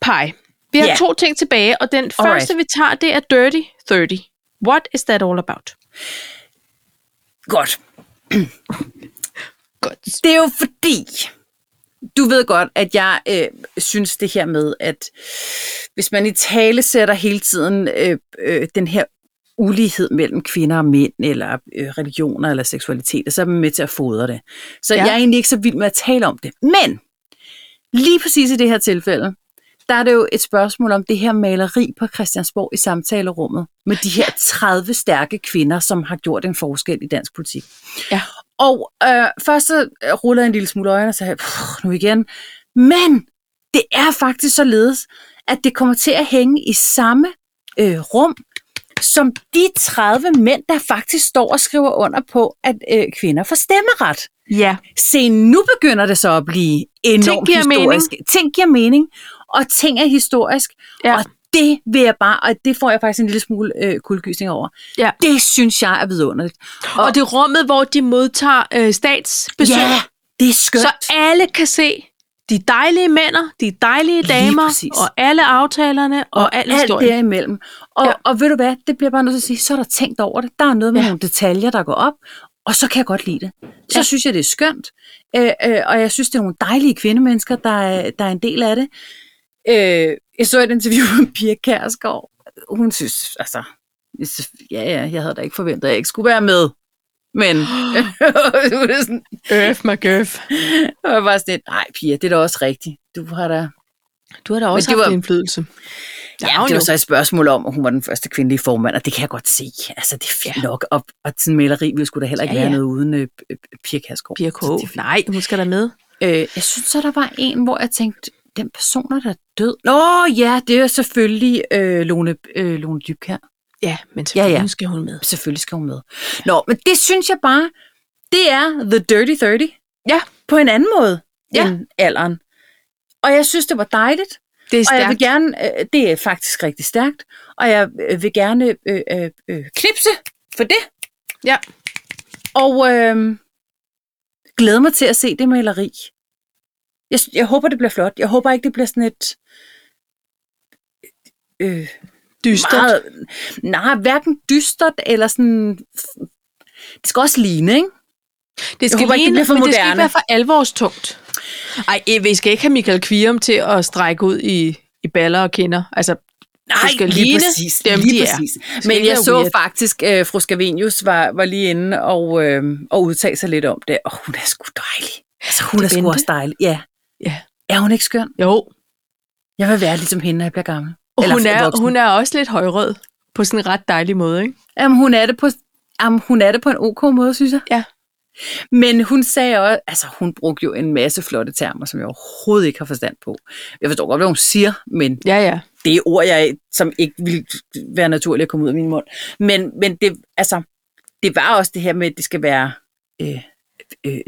Pai, vi har
Ja.
yeah. to ting tilbage, og den
Alright.
første, vi tager, det er Dirty 30. What is that all about?
Godt.
[clears throat] Godt.
Det er jo fordi, du ved godt, at jeg øh, synes det her med, at hvis man i tale sætter hele tiden øh, øh, den her ulighed mellem kvinder og mænd, eller øh, religioner, eller seksualitet, så er man med til at fodre det. Så
Ja.
ja. jeg er egentlig ikke så vild med at tale om det. Men lige præcis i det her tilfælde, der er det jo et spørgsmål om det her maleri på Christiansborg i samtalerummet med de her 30 stærke kvinder, som har gjort en forskel i dansk politik. Og øh, først så øh, rullede jeg en lille smule øjne og sagde, "Puh, nu igen. Men det er faktisk således, at det kommer til at hænge i samme øh, rum som de 30 mænd, der faktisk står og skriver under på, at øh, kvinder får stemmeret.
Ja.
Se, nu begynder det så at blive enormt
giver
historisk. Mening. Ting giver mening, og ting er historisk.
Ja.
Og det vil jeg bare, og det får jeg faktisk en lille smule øh, kuldgysning over.
ja.
Det synes jeg er vidunderligt.
Og, og det er rummet, hvor de modtager øh, statsbesøg.
Ja, det er skønt.
Så alle kan se de dejlige mænd, de dejlige
Lige
damer,
præcis.
og alle aftalerne, og, og al
alt
historien.
derimellem. Og,
Ja.
ja. og ved du hvad, det bliver jeg bare nødt til at sige, så er der tænkt over det. Der er noget med
Ja.
ja. nogle detaljer, der går op, og så kan jeg godt lide det. Så
Ja.
ja. synes jeg, det er skønt, øh, øh, og jeg synes, det er nogle dejlige kvindemennesker, der er, der er en del af det. Øh, jeg så et interview [laughs] med Pia Kærsgaard. Hun synes, altså, ja, ja, jeg havde da ikke forventet, at jeg ikke skulle være med. Men [laughs] nu er det sådan,
Øf, McGøf.
og jeg var bare sådan lidt, nej Pia, det er da også rigtigt. Du har da...
Du har da også
det
haft
var-
indflydelse.
Ja, det var så et spørgsmål om, at hun var den første kvindelige formand, og det kan jeg godt se. Altså, det er fint ja. nok. Og, og sådan en maleri ville skulle da heller ikke
Ja,
ja, ja.
ja.
være noget uden øh, øh, Pia Kærsgaard.
Pia K.
Så det-
Nej, hun skal da med.
Øh, jeg synes så, der var en, hvor jeg tænkte, den person er da død. Nå ja, det er selvfølgelig øh, Lone, øh, Lone Dybkær.
Ja, men selvfølgelig
Ja, ja.
skal hun med.
Selvfølgelig skal hun med. Nå, men det synes jeg bare, det er The Dirty 30.
Ja.
På en anden måde
Ja.
ja. end alderen. Og jeg synes, det var dejligt.
Det er
Og jeg vil
stærkt.
gerne, øh, det er faktisk rigtig stærkt, og jeg øh, vil gerne øh, øh, øh, knipse for det.
Ja.
Og øh, glæde mig til at se det maleri. Jeg, s- jeg håber, det bliver flot. Jeg håber ikke, det bliver sådan et... Øh,
Dystert.
meget, nej, hverken dystert eller sådan... Det skal også ligne, ikke?
Det skal
håber ikke, det
ligne,
bliver for
men det skal ikke
moderne.
være for alvorstungt. Ej, eh, vi skal ikke have Michael Kvirum til at strække ud i, i baller og kinder. Altså,
Nej,
det skal
lige
ligne
præcis,
dem,
lige
de er.
præcis.
skal
Men
ikke
jeg
være
så
weird.
faktisk, at uh, fru Scavenius var, var lige inde og, øh, og udtalte sig lidt om det, og hun er sgu dejlig. Altså, hun
Det
er sgu
Bente?
også dejlig. Ja.
Ja.
Er hun ikke skøn?
Jo,
Jeg vil være ligesom hende, når jeg bliver gammel.
og hun er,
voksen.
hun er også lidt højrød på sådan en ret dejlig måde, ikke?
Jamen, hun, er det på, jamen, hun er det på en ok måde, synes jeg.
Ja.
Men hun sagde også, altså hun brugte jo en masse flotte termer, som jeg overhovedet ikke har forstand på. Jeg forstår godt, hvad hun siger, men
Ja, ja.
det er ord, jeg, som ikke ville være naturligt at komme ud af min mund. Men, men det, altså, det var også det her med, at det skal være øh, øh,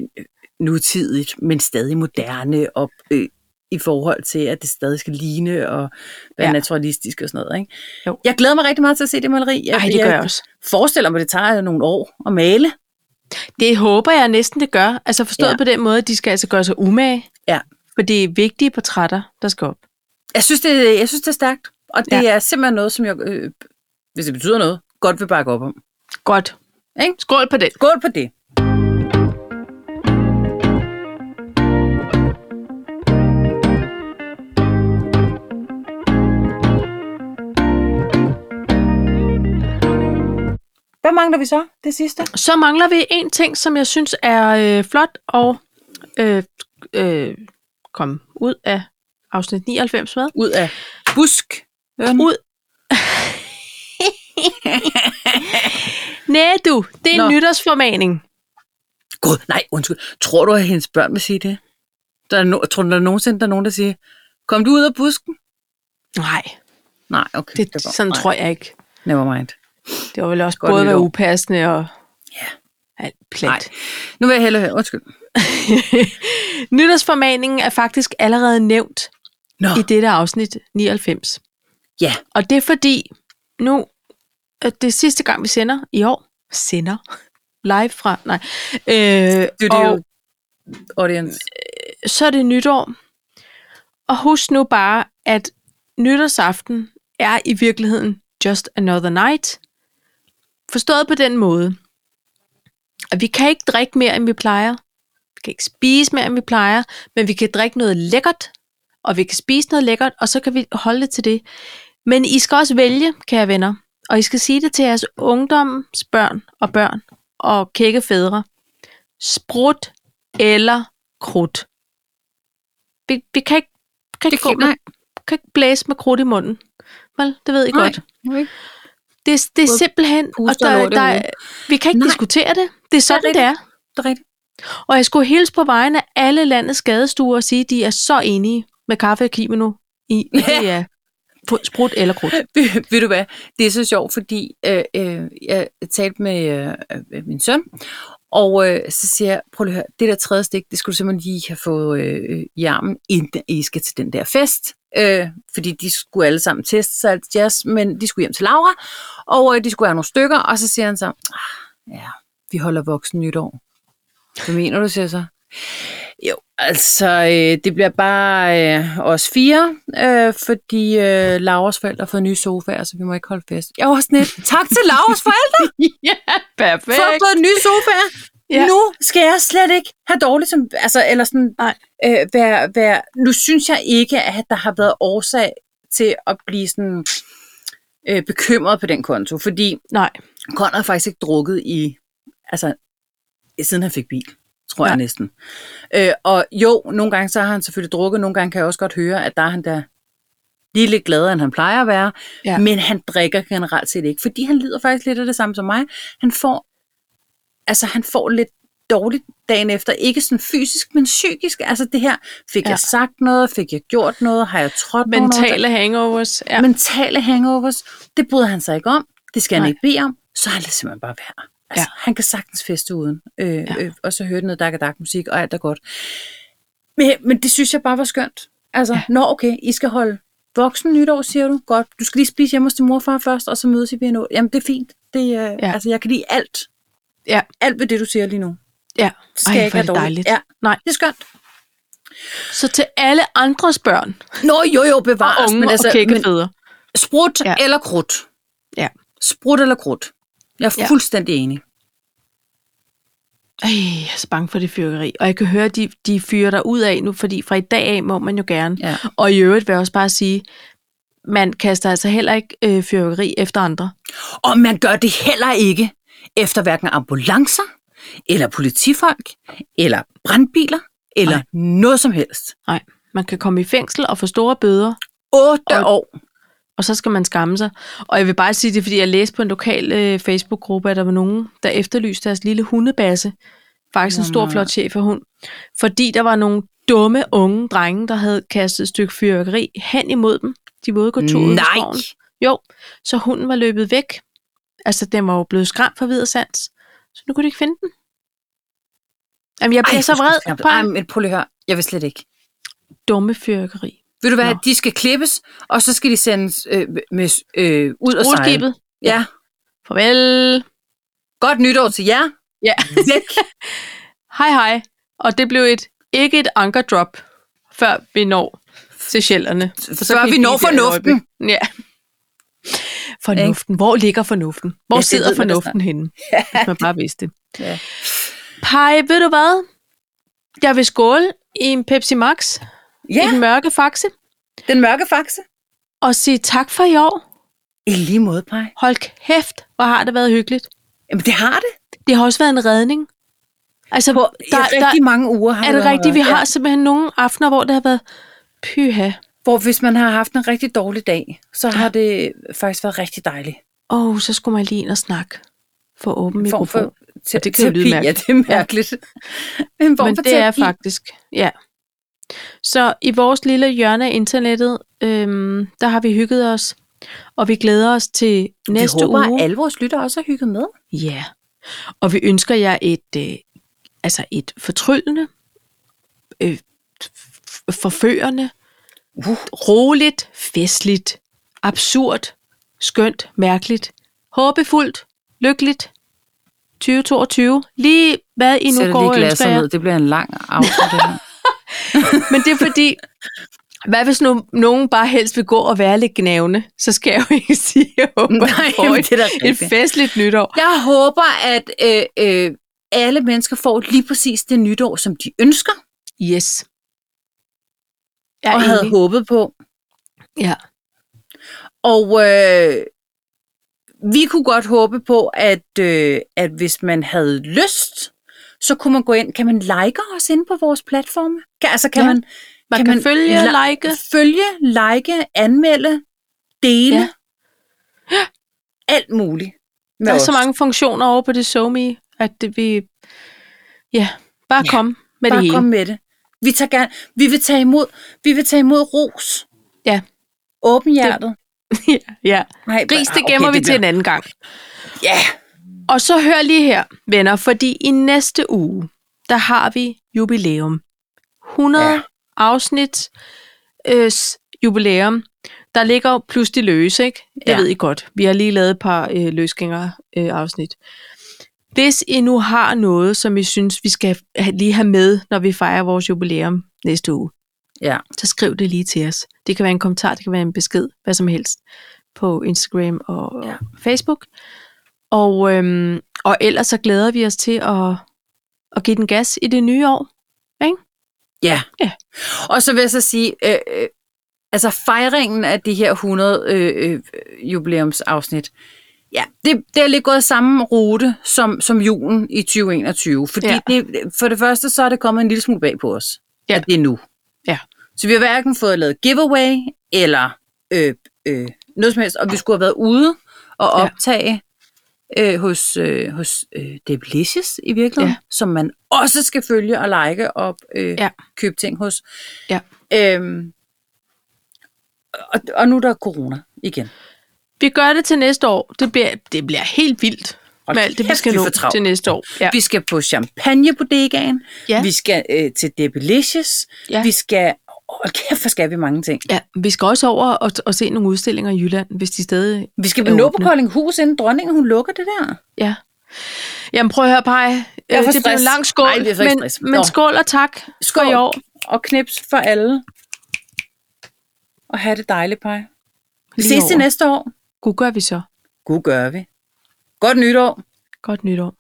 nutidigt, men stadig moderne, og øh, i forhold til, at det stadig skal ligne og
Ja.
være ja. naturalistisk og sådan noget. Ikke?
Jo.
Jeg glæder mig rigtig meget til at se det maleri. Jeg,
Ej, det gør jeg også.
forestiller mig, at det tager nogle år at male.
Det håber jeg næsten, det gør. Altså forstået ja.
Ja.
på den måde, at de skal altså gøre sig umage.
Ja.
For det er vigtige portrætter, der skal op.
Jeg synes, det, jeg synes, det er stærkt, og det ja. er simpelthen noget, som jeg, øh, hvis det betyder noget, godt vil bakke op om.
Godt.
Ikke?
Skål på den.
Skål på det. Hvad mangler vi så? Det sidste?
Så mangler vi en ting, som jeg synes er øh, flot og øh, øh, kom ud af afsnit 99 med.
Ud af busk.
Ud. Næ du, det er en
Nå.
nytårsformaning.
Gud, nej, undskyld. Tror du, at hendes børn vil sige det? Der er no- tror du, der er nogensinde der er nogen, der siger, kom du ud af busken?
Nej,
Nej, okay.
det,
var-
sådan
nej,
tror jeg ikke.
Never mind.
Det var vel også
Godt
både være
nytår.
upassende og
Ja.
alt
Nej.
plat.
Nu vil jeg hellere høre. Undskyld.
Nytårsformaningen er faktisk allerede nævnt
Nå,
i dette afsnit 99.
ja.
Og det er fordi, nu at det er sidste gang, vi sender i år. Sender? Live fra? Nej. Øh,
Det, er
og
jo audience.
så er det nytår. Og husk nu bare, at nytårsaften er i virkeligheden just another night. Forstået på den måde, at vi kan ikke drikke mere, end vi plejer. Vi kan ikke spise mere, end vi plejer, men vi kan drikke noget lækkert, og vi kan spise noget lækkert, og så kan vi holde det til det. Men I skal også vælge, kære venner, og I skal sige det til jeres ungdomsbørn og børn og kække fædre. Sprut eller krudt. Vi, vi kan ikke, kan ikke, gå med, kan ikke blæse med krudt i munden. Vel, det ved I
Nej.
godt. Det, er- det er
Både
simpelthen...
puste og
der,
lort i
der,
hovedet.
vi kan ikke
Nej.
diskutere det. Det er sådan, det er.
Det er rigtigt.
Og jeg skulle hilse på vegne af alle landets skadestuer og sige, at de er så enige med Kaffe og Kimono i, at det er Sprut- Sprut eller krudt.
ved, ved du hvad, det er så sjovt, fordi øh, øh, jeg talte med øh, øh, min søn, og øh, så siger jeg, prøv lige at høre, det der tredje stik, det skulle du simpelthen lige have fået øh, øh, i armen, inden I skal til den der fest. Øh, fordi de skulle alle sammen teste sig alt jazz, men de skulle hjem til Laura, og øh, de skulle have nogle stykker, og så siger han så, ah, ja, vi holder voksen nytår. Hvad mener du, siger jeg så? Jo, altså, øh, det bliver bare øh, os fire, øh, fordi øh, Lauras forældre har fået nye sofaer, så vi må ikke holde fest. Jeg var sådan lidt, tak til Lauras forældre [laughs]
Ja,
for at have
perfekt.
fået nye sofaer.
Ja.
Ja. Nu skal jeg slet ikke have dårligt som, altså, eller sådan,
Nej.
øh, være, være, nu synes jeg ikke, at der har været årsag til at blive sådan øh, bekymret på den konto, fordi
Nej,
Conrad har faktisk ikke drukket i, altså, siden han fik bil, tror ja.
Nej.
jeg næsten. Øh, og jo, nogle gange så har han selvfølgelig drukket, nogle gange kan jeg også godt høre, at der er han der lige lidt gladere, end han plejer at være,
Ja.
ja. men han drikker generelt set ikke, fordi han lider faktisk lidt af det samme som mig. Han får, altså han får lidt dårligt dagen efter, ikke sådan fysisk, men psykisk, altså det her, fik
Ja.
ja. jeg sagt noget, fik jeg gjort noget, har jeg trådt nogen over-
mentale hangovers. Ja.
ja. mentale hangovers, det bryder han sig ikke om, det skal Nej.
Nej.
han ikke bede om, så han lader simpelthen bare være.
Ja.
Altså, ja. Han kan sagtens feste uden, øh,
Ja.
ja. øh, og så høre noget dak og dak musik, og alt er godt. Men, men det synes jeg bare var skønt. Altså, ja. nå okay, I skal holde voksen nytår, siger du. Godt, du skal lige spise hjemme hos din morfar først, og så mødes i BNO. Jamen, det er fint. Det, øh, ja. Altså, jeg kan lide alt.
Ja.
Alt ved det, du siger lige nu.
ja.
Så skal
Ej,
jeg ikke
hvor er
have
det
dårligt.
dejligt.
Ja,
Nej.
det er skønt.
Så til alle andres børn
Nå, jo, jo,
og
bevares. altså,
unge og kækkefædre.
Sprut
Ja.
ja. eller krudt?
Ja.
Sprut eller krudt? Jeg er
Ja.
fuldstændig enig.
Ej, jeg er så bange for det fyrkeri. Og jeg kan høre, de, de fyrer dig ud af nu, fordi fra i dag af må man jo gerne.
Ja.
Og i øvrigt vil jeg også bare sige, man kaster altså heller ikke øh, fyrkeri efter andre.
Og man gør det heller ikke efter hverken ambulancer, eller politifolk, eller brandbiler, eller
Nej.
Nej. noget som helst.
Nej, man kan komme i fængsel og få store bøder,
Otte
Og-
år.
og så skal man skamme sig. Og jeg vil bare sige det, er, fordi jeg læste på en lokal øh, Facebook-gruppe, at der var nogen, der efterlyste deres lille hundebasse. Faktisk en
Nå,
stor,
nej.
flot chef af hund. Fordi der var nogle dumme unge drenge, der havde kastet et stykke fyrværkeri hen imod dem. De var ude at gå tur ude i
Nej.
skoven. Jo, så hunden var løbet væk. Altså, den var jo blevet skræmt for videre sans. Så nu kunne de ikke finde den. Jamen, jeg bliver
Ej,
så vred på
Ej,
en
men prøv lige at høre. Jeg vil slet ikke.
dumme fyrværkeri.
Ved du hvad?
Nå.
De skal klippes, og så skal de sendes øh, med, øh, ud og sejle.
Rutskibet.
Ja.
Farvel.
Godt nytår til jer.
Ja.
Væk.
[laughs] hej hej. Og det blev et, ikke et ankerdrop, før vi når til sjælderne.
Før vi når fornuften.
Ja. Fornuften. Hvor ligger fornuften? Hvor
Ja,
ja,
det
sidder
ved man da
fornuften henne? Ja. Hvis man bare vidste det.
[laughs] Ja.
Pej, ved du hvad? Jeg vil skåle i en Pepsi Max, ja. i
ja,
den mørke faxe,
den mørke faxe.
og sige tak for i år.
I lige måde, Paj.
Hold kæft, hvor har det været hyggeligt.
Jamen, det har det.
Det har også været en redning. Altså,
På, der,
der,
I rigtig
der,
mange uger har
er det
været-
rigtigt? Vi
ja.
har simpelthen nogle aftener, hvor det har været pyha.
Hvor hvis man har haft en rigtig dårlig dag, så har det faktisk været rigtig dejligt.
Åh, oh, så skulle man lige ind og snakke for åben
En form
mikrofon.
for
For,
te-
Og det kan jo lyde
terapi. Ja,
mærkeligt.
det er mærkeligt. [laughs] En form
Men
for
det er
terapi.
faktisk, ja. Så i vores lille hjørne af internettet, øhm, der har vi hygget os, og vi glæder os til næste
Vi håber,
uge.
at alle vores lytter også har hygget med.
Ja, og vi ønsker jer et, øh, altså et fortryllende, øh, f- forførende,
Uh.
roligt, festligt, absurd, skønt, mærkeligt, håbefuldt, lykkeligt, 2022. Lige hvad I nu går og ønsker jer.
Det bliver en lang aften. [laughs] Det her.
Men det er fordi, hvad hvis nu, nogen bare helst vil gå og være lidt gnavne, så skal jeg jo ikke sige, at jeg håber,
Nej,
I får
men
et,
det er da
et
rigtigt.
festligt nytår.
Jeg håber, at øh, øh, alle mennesker får lige præcis det nytår, som de ønsker,
Yes. Jeg
og
er
havde
enig.
håbet på.
Ja.
Og øh, vi kunne godt håbe på, at, øh, at hvis man havde lyst, så kunne man gå ind. Kan man like os inde på vores platforme? Kan, altså kan
Ja.
man,
Man kan, kan følge,
la-
like.
følge, like, anmelde, dele.
Ja.
Ja. Alt muligt. med
Der er
os.
så mange funktioner over på det SoMe, at det, vi... Ja, bare
Ja,
kom med det
Bare
hele.
kom med det. Vi, tager gerne, vi, vil tage imod, vi vil tage imod ros.
Ja.
Åbenhjertet.
[laughs] ja.
Nej,
Gris, det
ah,
gemmer vi
det
til en anden gang.
Ja.
Og så hør lige her, venner, fordi i næste uge, der har vi jubilæum. 100
Ja.
ja. afsnit øh, jubilæum. Der ligger jo pludselig løs, ikke? Det
Ja.
ja. ved I godt. Vi har lige lavet et par øh, løsgængere øh, afsnit. Hvis I nu har noget, som I synes, vi skal ha- lige have med, når vi fejrer vores jubilæum næste uge,
Ja.
så skriv det lige til os. Det kan være en kommentar, det kan være en besked, hvad som helst, på Instagram og
Ja.
ja. Facebook. Og, øhm, og ellers så glæder vi os til at, at give den gas i det nye år.
Ja.
Ja.
Og så vil jeg så sige, øh, øh, altså fejringen af de her 100 øh, øh, jubilæumsafsnit, ja, det, det er lidt gået samme rute som, som julen i 2021. Fordi ja.
Ja.
det, for det første, så er det kommet en lille smule bag på os, ja.
Ja.
at det er nu.
Ja.
Så vi har hverken fået lavet giveaway eller øh, øh, noget som helst, og vi skulle have været ude og
Ja.
optage øh, hos, øh, hos øh, Delicious i virkeligheden, ja.
Ja.
som man også skal følge og like og øh, ja.
Ja.
købe ting hos.
Ja.
Øhm, og, og nu er der corona igen.
Vi gør det til næste år. Det bliver, det bliver helt vildt
Hold
med alt det, vi
kæft,
skal
vi
nå
får travlt.
til næste år. Ja.
Vi skal på champagne på Degaen.
Ja.
Vi skal øh, til Delicious.
Ja.
Vi skal... Hold kæft, hvor skal vi mange ting.
ja, vi skal også over og, og se nogle udstillinger i Jylland, hvis de stadig...
Vi skal
er
nå på
åbne.
Koldinghus, inden dronningen hun lukker det der.
Ja. Jamen prøv at høre, Paj. Jeg
er
det blev
for stress.
en lang skål,
Nej, det er for ikke stress.
men,
Nå.
men skål og tak skål. for i år.
og knips for alle. Og have det dejligt, Paj. Vi
Lige
ses til
over.
næste år.
God gør vi så.
God gør vi. Godt nytår.
Godt nytår.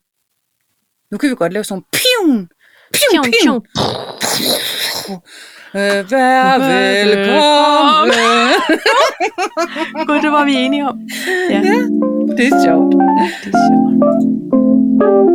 Nu kan vi godt lave sådan nogle piun. Piun, piun. piun. Øh, vær velkommen.
Gud, det var vi enige om. Ja,
Det er sjovt.
det er sjovt.